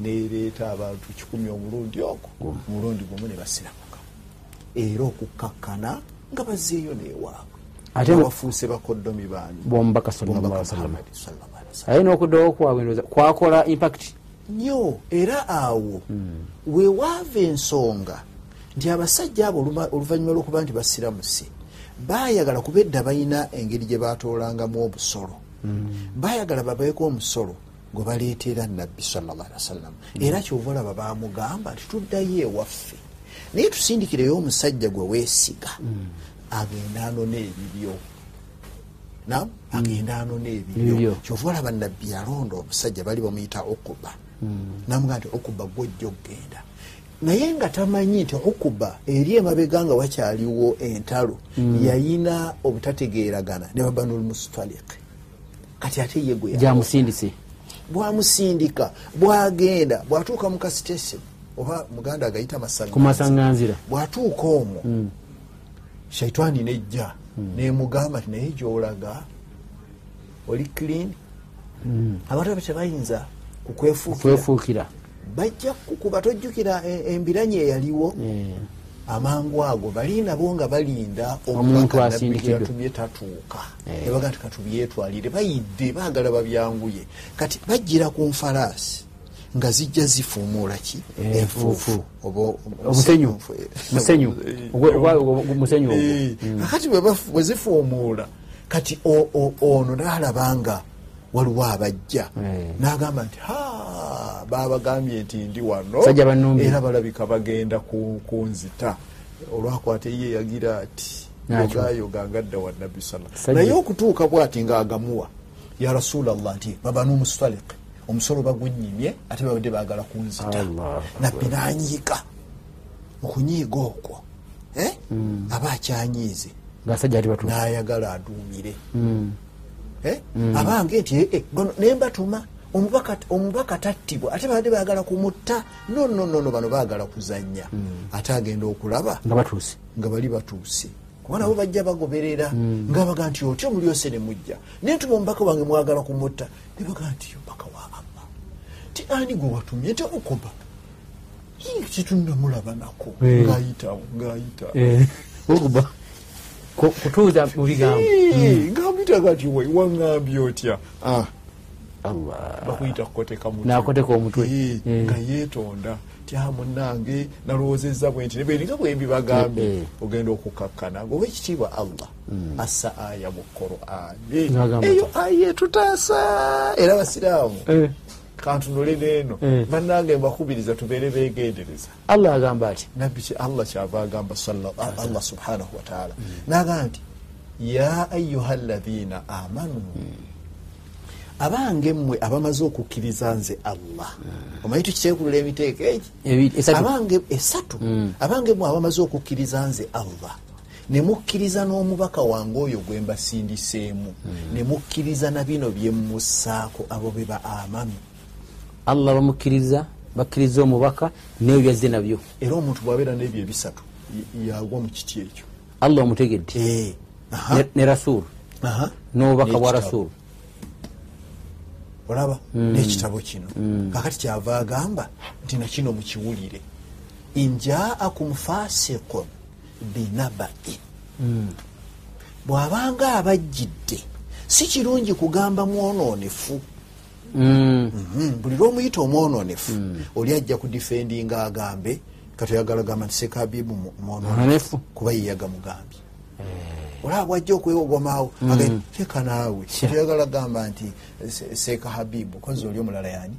Speaker 2: neereeta abantu kikumi omulundi ogwo omulundi gumu ne basiramuka era okukkakkana nga bazzeeyo neewaabwe
Speaker 1: Ate-
Speaker 2: Nga bafuuse bakoddomi baani
Speaker 1: bomubaka
Speaker 2: Omubaka
Speaker 1: sallam
Speaker 2: Muhammad sallallahu alaihi wasallam.
Speaker 1: aye n'okuddawo kwabwe ndowooza kwakola impact
Speaker 2: nnyo era awo weewaava ensonga nti abasajja abo oluma- oluvannyuma lwokuba nti basiramuse baayagala kuba edda balina engeri gye batoolangamu obusolo baayagala babeeko omusolo gwe baleetera nabbi sallawasalam era kyovaolaba baamugamba nti tuddayo ewaffe naye tusindikireyo omusajja gwe weesiga agenda anona ebibyo nam agenda anona ebibyo
Speaker 1: Ebibyo.
Speaker 2: kyova olaba nabbi yalonda omusajja bali bamuyita okuba namuga nti okuba gwojja okgenda naye nga tamanyi nti okuba eri emabega nga wakyaliwo entalo yayina obutategeeragana ne babanulmustalik kati ate ye gwe yali-
Speaker 1: gyamusindise
Speaker 2: bwamusindika bwagenda bwatuuka mu kasitesi oba muganda agayita masaganzi.
Speaker 1: ku masaŋŋanzira
Speaker 2: bwatuuka omwo shaitaani nejja nemugamba ti naye gyolaga oli clean abantu abo tebayinza kukwefuukira
Speaker 1: kwefuukira
Speaker 2: bajja kukuba tojjukira e- embiranyi eyaliwo
Speaker 1: Eh,
Speaker 2: amangu ago bali nabo nga balinda
Speaker 1: Omuntu Eh.
Speaker 2: omubaka nabbi
Speaker 1: asindikiddwa.
Speaker 2: gyeyatumye tatuuka ebaga nti katubyetwalire bayidde baagala babyanguye kati bajjira ku nfalaasi nga zijja zifuumuula ki
Speaker 1: Eh,
Speaker 2: enfuufu
Speaker 1: enfuufu. Eh,
Speaker 2: oba
Speaker 1: omusenyu musenyu Ogwe- ogwa- ogwo- ogwo- musenyu ogwo. Hmm.
Speaker 2: Eh, kakati bwe bafu- bwe zifuumuula kati o- o- ono naalaba nga waliwo abajja
Speaker 1: Eh.
Speaker 2: n'agamba nti ha babagambye nti ndi wano
Speaker 1: Basajja bannumbye.
Speaker 2: era balabika bagenda ku- kunzita olwakwata ye yagira ati
Speaker 1: Nakyo.
Speaker 2: yogayoga ngadda wa nabbi sala
Speaker 1: Basajja.
Speaker 2: naye okutuuka bwati ngaagamuwa ya rasulllah nti baba n'omusalik omusolo bagunyimye ate babadde baagala kunzita
Speaker 1: Allah.
Speaker 2: nabbi nanyiika okunyiiga okwo eh? aba akyanyiize
Speaker 1: ngaasajja ati batuufu
Speaker 2: n'ayagala aduumire Eh? abange nti "Eh, eh, bano naye mbatuma omubaka omubaka tattibwa ate babadde baagala kumutta nononono bano baagala kuzannya ate agenda okulaba
Speaker 1: nga batuuse
Speaker 2: nga bali batuuse kuba nabo bajja bagoberera nga baga nti otyo mulyose ne mujja naye ntuma omubaka wange mwagala kumutta ne baga nti omubaka wa allah ti ani gwe watumye nti okuba tetunamulaba nako
Speaker 1: Eh.
Speaker 2: ngaayitawo ngaayita
Speaker 1: okuba kutuuza mu bigambo Mm.
Speaker 2: ngambitaga ti waŋambye otya
Speaker 1: allah
Speaker 2: bakuyita kukoteka mutwe
Speaker 1: Ah. N'akoteka omutwe.
Speaker 2: Eh,
Speaker 1: Eh.
Speaker 2: nga yeetonda tya munnange nalowoozezza bwe nti nebweninga bwe mbibagambye
Speaker 1: Eh, Mm.
Speaker 2: ogenda okukakkana nga owekitiibwa allah assa aya mu qurani
Speaker 1: N'agamba
Speaker 2: eyo aya etutaasa era abasiraamu
Speaker 1: Eh.
Speaker 2: kantunule neeno
Speaker 1: Eh.
Speaker 2: bannange mbakubiriza tubeere beegendereza
Speaker 1: allah agamba ati
Speaker 2: nabbi ki allah kyava agamba salla- a- allah subhanahu wataala nagamba nti ya ayuha ladhina amanu abange mmwe abamaze okukkiriza nze allah omanyi tukiteekulula emiteeko egi
Speaker 1: Ebi- E, esatu.
Speaker 2: abange esatu abange mmwe abamaze okukkiriza nze allah ne mukkiriza n'omubaka wange oyo gwe mbasindiseemu ne mukkiriza na bino bye mmussaako abo be ba amanu
Speaker 1: allah bamukkiriza bakkiriza omubaka neyo byazze nabyo
Speaker 2: era omuntu bw'abeera n'ebyo ebisatu y- yagwa mu kiti ekyo
Speaker 1: allah omutegedde
Speaker 2: Eh, aha.
Speaker 1: Ne- ne rasulu
Speaker 2: Aha.
Speaker 1: n'obubaka bwa
Speaker 2: N'ekitabo.
Speaker 1: rasulu
Speaker 2: olaba n'ekitabo kino kakati kyava agamba nti nakino mukiwulire injaakum fasiqun binabain bw'abanga abajjidde si kirungi kugamba mwonoonefu
Speaker 1: Mm.
Speaker 2: Mhm, buli lwomuyita omwononefu oli ajja kudifendinga agambe katoyagala gamba nti sekabibu mu- mwononefu
Speaker 1: Mwononefu. Eh.
Speaker 2: kuba ye yagamugambye olaba bwajja okwewogomaawo
Speaker 1: Mm.
Speaker 2: aga teeka naawe toyagala gamba nti Se- seeka habibu kozi oli omulala yani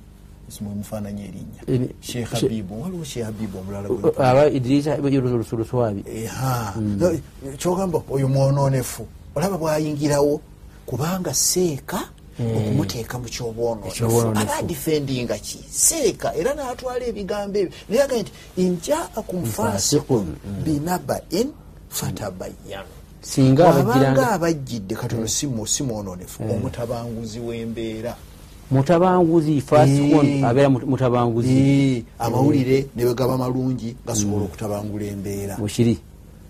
Speaker 2: mwemufaananyi erinnya
Speaker 1: Eri-
Speaker 2: sheekh
Speaker 1: She-
Speaker 2: habibu waliwo sheekh habibu omulala gwe-
Speaker 1: aba idirisa lusuluswabi
Speaker 2: Eha.
Speaker 1: Mm.
Speaker 2: No, kyogamba oyo mwononefu olaba bwayingirawo kubanga seeka okumuteeka mu kyobwononefu
Speaker 1: Mm. Ekyobwononefu.
Speaker 2: aba adifendinga kiseeka era n'atwala ebigambo ebyo naye agaye nti injaakum fasikun
Speaker 1: Mm.
Speaker 2: binabain fatabayanu
Speaker 1: singa
Speaker 2: abanga
Speaker 1: abajjiranga Mm.
Speaker 2: abajjidde katono si mwononefu omutabanguzi w'embeera
Speaker 1: mutabanguzi fasikon
Speaker 2: Eh.
Speaker 1: abeera mut- mutabanguzi
Speaker 2: Eh, amawulire ne bwe gaba malungi gasobola okutabangula embeera
Speaker 1: bwekiri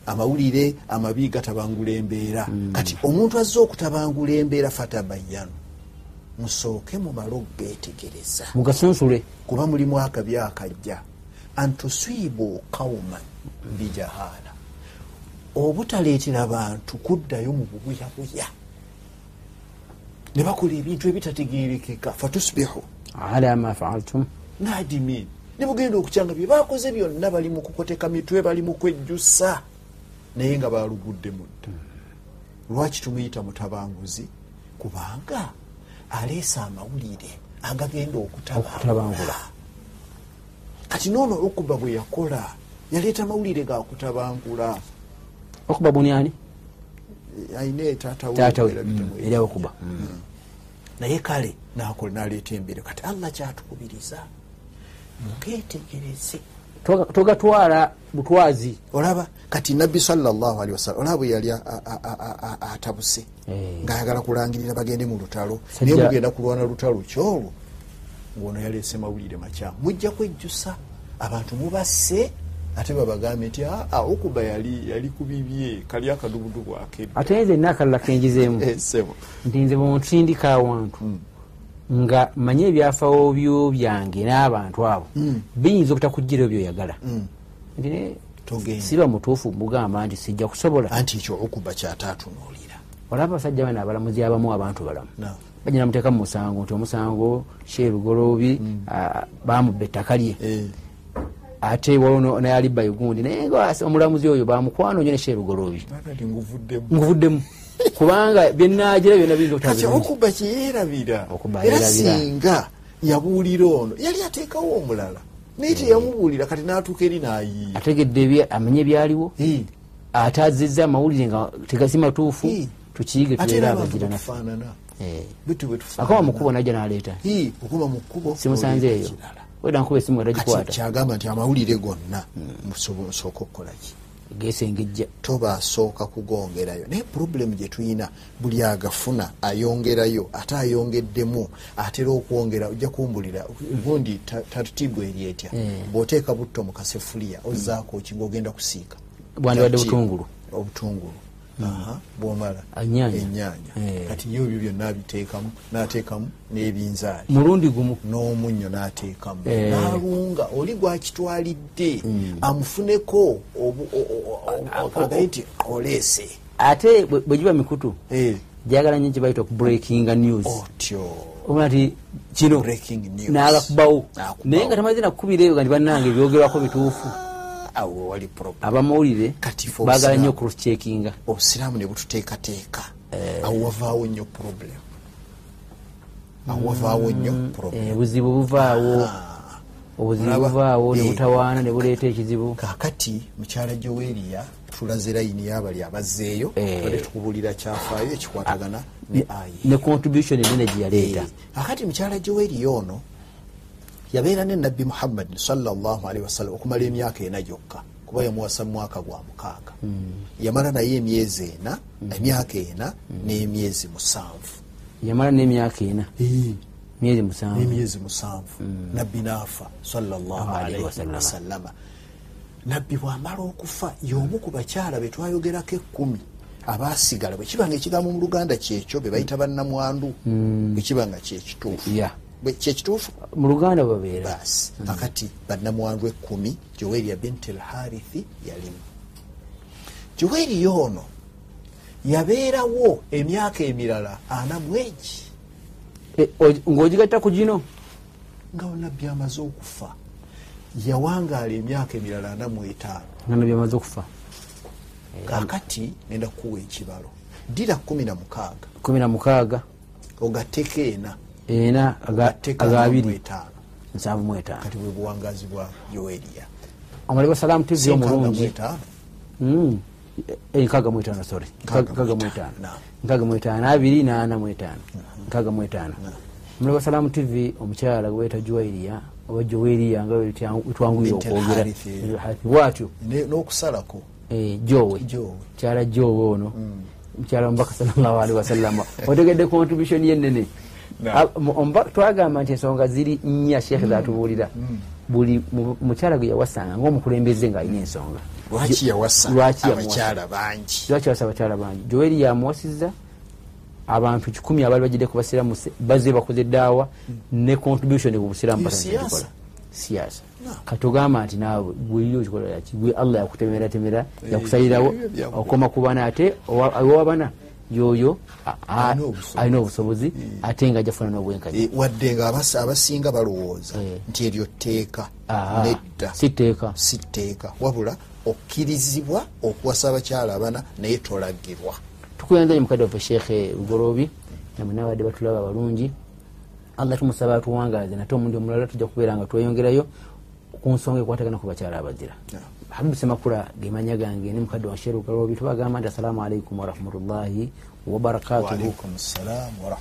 Speaker 2: amawulire amabi gatabangula embeera kati omuntu azze okutabangula embeera fatabayanu musooke mumale okugeetegereza
Speaker 1: mugasansule
Speaker 2: kuba mulimu akabi akajja antusiibu kauman bijahaala obutaleetera bantu kuddayo mu bubuyabuya ne bakola ebintu ebitategeerekeka fatusibihu
Speaker 1: ala ma faaltum
Speaker 2: nadimin ne bugenda okukyanga bye bakoze byonna bali mu kukoteka mitwe bali mu kwejjusa naye nga balugudde mudda lwaki tumuyita mutabanguzi kubanga aleese amawulire agagenda
Speaker 1: Okutabangula.
Speaker 2: okutabangula kati noono okuba bwe yakola yaleeta amawulire gakutabangula
Speaker 1: okuba bunyani
Speaker 2: ayina
Speaker 1: taata we mm,
Speaker 2: etaatawe
Speaker 1: era okuba
Speaker 2: naye kale nakola naleeta embeera kati allah kyatukubiriza muketegereze
Speaker 1: togatwala butwazi
Speaker 2: olaba kati nabbi salllahalihi wasallam olaba bwe yali a- a- a- a- a- atabuse
Speaker 1: Eh.
Speaker 2: ngaayagala kulangirira bagende mu lutalo
Speaker 1: Sajja-
Speaker 2: naye mugenda kulwana lutalo kyolwo ngaono yaleese mawulire makyamu mujja kwejjusa abantu mubasse ate babagambe nti aa okuba yali yali ku bibye kali akadubudubu akedda
Speaker 1: ate nzenna akalala
Speaker 2: Eh.
Speaker 1: kenjizeemu
Speaker 2: esebo
Speaker 1: nti nze bwonsindika awantu nga manye ebyafawo byo byange n'abantu abo biyinza obutakugirayo byoyagala nti naye
Speaker 2: Mm. Togenda.
Speaker 1: siba mutuufu mugamba nti sijja kusobola
Speaker 2: anti ekyo okuba kyataatunuulira
Speaker 1: olaba abasajja bano abalamuzi abamu abantu balamu
Speaker 2: Naam.
Speaker 1: bajja namuteeka mu musango nti omusango sherugoloobi bamubba ettaka lye
Speaker 2: Eh,
Speaker 1: ate waliwo nayalibayo gundi naye nga omulamuzi oyo bamukwana onyo ne sherugoloobi
Speaker 2: baadali nguvuddemu
Speaker 1: nguvuddemu kubanga byenagira byona biyinza
Speaker 2: kati
Speaker 1: obutabirungi
Speaker 2: okuba kyeyerabira
Speaker 1: Okuba
Speaker 2: era
Speaker 1: yeerabira.
Speaker 2: singa yabuulira ono yali ateekawo omulala naye
Speaker 1: Eh.
Speaker 2: teyamubuulira kati n'atuuka eri n'ayiiya
Speaker 1: ategedde ebya- amanye byaliwo
Speaker 2: Eh,
Speaker 1: ate azizza amawulire nga tegasi matuufu
Speaker 2: Eh.
Speaker 1: tukiyige
Speaker 2: ate
Speaker 1: tubeere
Speaker 2: era abantu
Speaker 1: abazira naffe
Speaker 2: betufaanana
Speaker 1: Eh.
Speaker 2: betu
Speaker 1: akaba mukubo najja naleeta
Speaker 2: okuma mu kkubo
Speaker 1: simusanze eyo weda nkuba esimu
Speaker 2: kati
Speaker 1: atagikwata
Speaker 2: kyagamba nti amawulire gonna
Speaker 1: Hmm.
Speaker 2: musobo- nsooka okukolaki
Speaker 1: gesengejja
Speaker 2: tobasooka kugongerayo naye purobulemu gye tulina buli agafuna ayongerayo ate ayongeddemu atera okwongera ojja kumbulira gundi ta- tatutiibwa eri etya bw'oteeka butto mu kasefuliya ozzaako ki ngaogenda kusiika
Speaker 1: Bwandibadde
Speaker 2: Kya ki?
Speaker 1: butungulu.
Speaker 2: obutungulu Aha, bwomala
Speaker 1: Ennyaanya.
Speaker 2: enyaanya
Speaker 1: Eh.
Speaker 2: kati ye ebyo byonna abiteekamu n'ateekamu n'ebinzaali
Speaker 1: mulundi gumu
Speaker 2: n'omunnyo n'ateekamu
Speaker 1: Eh. Hmm.
Speaker 2: n'alunga oli gwakitwalidde amufuneko obu- o- o- o- o- agaye nti oleese
Speaker 1: ate bwe- bwe giba mikutu
Speaker 2: Eh,
Speaker 1: jagala nyo gyebayita okubreakinga news
Speaker 2: otyo
Speaker 1: obona ti kino
Speaker 2: Breaking Oh. news.
Speaker 1: n'agakubawo
Speaker 2: N'akubawo.
Speaker 1: naye nga tamaze nakukubira eyo nga ti bannange ebyogerwako bituufu
Speaker 2: Ah, awo wali problem
Speaker 1: abamawulire
Speaker 2: Kati for
Speaker 1: baagala nnyo
Speaker 2: Islam.
Speaker 1: okukruschekinga
Speaker 2: obusiraamu ne bututeekateeka
Speaker 1: Eh.
Speaker 2: awo wavaawo nnyo problem awo wavaawo nnyo
Speaker 1: Mm.
Speaker 2: problem
Speaker 1: obuzibu Eh, buvaawo
Speaker 2: Oh. Ah.
Speaker 1: obuzibu
Speaker 2: Mulaba?
Speaker 1: buvaawo ne
Speaker 2: Eh.
Speaker 1: butawaana ne buleeta ekizibu
Speaker 2: kaakati mukyala gyoweriya tulaze layini y'abali abazzeeyo
Speaker 1: Eh.
Speaker 2: tubadde tukubulira kyafaayo ekikwatagana ne ayi
Speaker 1: ne contribution enene gye yaleeta
Speaker 2: akati mukyala gyoweri ono yabeera ne nabbi muhammadin salllahalihi wasallam okumala emyaka ena gyokka kuba yamuwasa mu mwaka gwa mukaaga yamala naye emyezi ena emyaka ena n'emyezi musanvu
Speaker 1: yamala n'emyaka ena myezi musanvu
Speaker 2: n'emyezi musanvu nabbi naafa
Speaker 1: Alaihi wasallama.
Speaker 2: salllahalihiwasalama nabbi bw'amala okufa y'omu ku bakyala be twayogerako ekkumi abaasigala bwekibanga ekigambo mu luganda kyekyo be bayita bannamwandu bwekibanga kyekituufu
Speaker 1: ya
Speaker 2: Bwe- kyekituufu
Speaker 1: mu luganda babeera
Speaker 2: basi akati bannamwandu ekkumi joweriya binti lharithi yalimu joweriya ono yabeerawo emyaka emirala ana mwegi
Speaker 1: E, o- ng'ogigatta ku gino
Speaker 2: nga onabbi amaze okufa yawangaala emyaka emirala ana muetaano
Speaker 1: ngana byamaze okufa Mm.
Speaker 2: kakati ngenda kukuwa ekibalo dira kumi na mukaaga
Speaker 1: kumi na mukaaga
Speaker 2: ogatteko ena
Speaker 1: ena aga-
Speaker 2: ogatteko
Speaker 1: aga abiri
Speaker 2: etaano
Speaker 1: nsanvu mu etaano
Speaker 2: kati bwe buwangazi bwa joweriya
Speaker 1: omulaba salaamu tivi omulungi
Speaker 2: etaano
Speaker 1: Mm. E- e, nkaaga mu etaano sorry
Speaker 2: Nkaaga mu
Speaker 1: nkaaga mu
Speaker 2: etaano,
Speaker 1: etaano
Speaker 2: naam.
Speaker 1: nkaaga mu etaano abiri naana mu etaano nkaaga mu etaano mulaba salaamu tv omukyala gweta joeriya oba joeriya nga wetwanguyira
Speaker 2: Bintul
Speaker 1: okwogera
Speaker 2: Harith, eh.
Speaker 1: Bintul Harith. bwatyo
Speaker 2: Ne- n'okusalako
Speaker 1: eh, jowe
Speaker 2: Jowe.
Speaker 1: mukyala jowe ono
Speaker 2: Mm.
Speaker 1: mukyala omubaka salllahalihi wasallama otegedde contribution yenene
Speaker 2: Na.
Speaker 1: twagamba nti ensonga ziri nnya sheekhe
Speaker 2: Mm.
Speaker 1: zatubuulira buli mu- mukyala gwe yawasanga ngaomukulembeze ng'alina ensonga
Speaker 2: lwaki yawasa
Speaker 1: Lwaki yamuwasa?
Speaker 2: abakyala bangi
Speaker 1: lwaki abasa abakyala bangi joeri yamuwasizza abantu kikumi abaali bagidde ku basiraamu se- baze bakoze eddaawa ne contribution ku busiraamu
Speaker 2: Eyo
Speaker 1: patani
Speaker 2: siyaasa.
Speaker 1: gyetukola. siyaasa
Speaker 2: Na.
Speaker 1: katugamba nti naawe gweyo okikola yaki gwe allah yakutemeratemera yakusalirawo
Speaker 2: ebyo byakwe.
Speaker 1: okoma ku baana ate owabana yoyo a- a-
Speaker 2: Alina obusobozi. Hmm.
Speaker 1: alina obusobozi ate nga ajafuna n'obwenkanya
Speaker 2: E, wadde nga abas- abasinga balowooza
Speaker 1: Eh.
Speaker 2: nti eryo tteeka
Speaker 1: Aa,
Speaker 2: nedda
Speaker 1: si tteeka
Speaker 2: si tteeka wabula okkirizibwa okuwasa abakyala abana naye tolagirwa
Speaker 1: tukuyanzanye mukadde waffe sheekhe lugorobi namwe nabadde batulaba balungi allah tumusaba atuwangaze nate omundi omulala tujja kubeera nga tweyongerayo ku nsonga ekwatagana ku bakyala abazira habibu semakula gemanya gange ne mukadde wa sheekhe lugorobi tubagamba nti assalamu alaikum warahmatullahi wabarakatuhu
Speaker 2: Waalaikum salaam warahmatullahi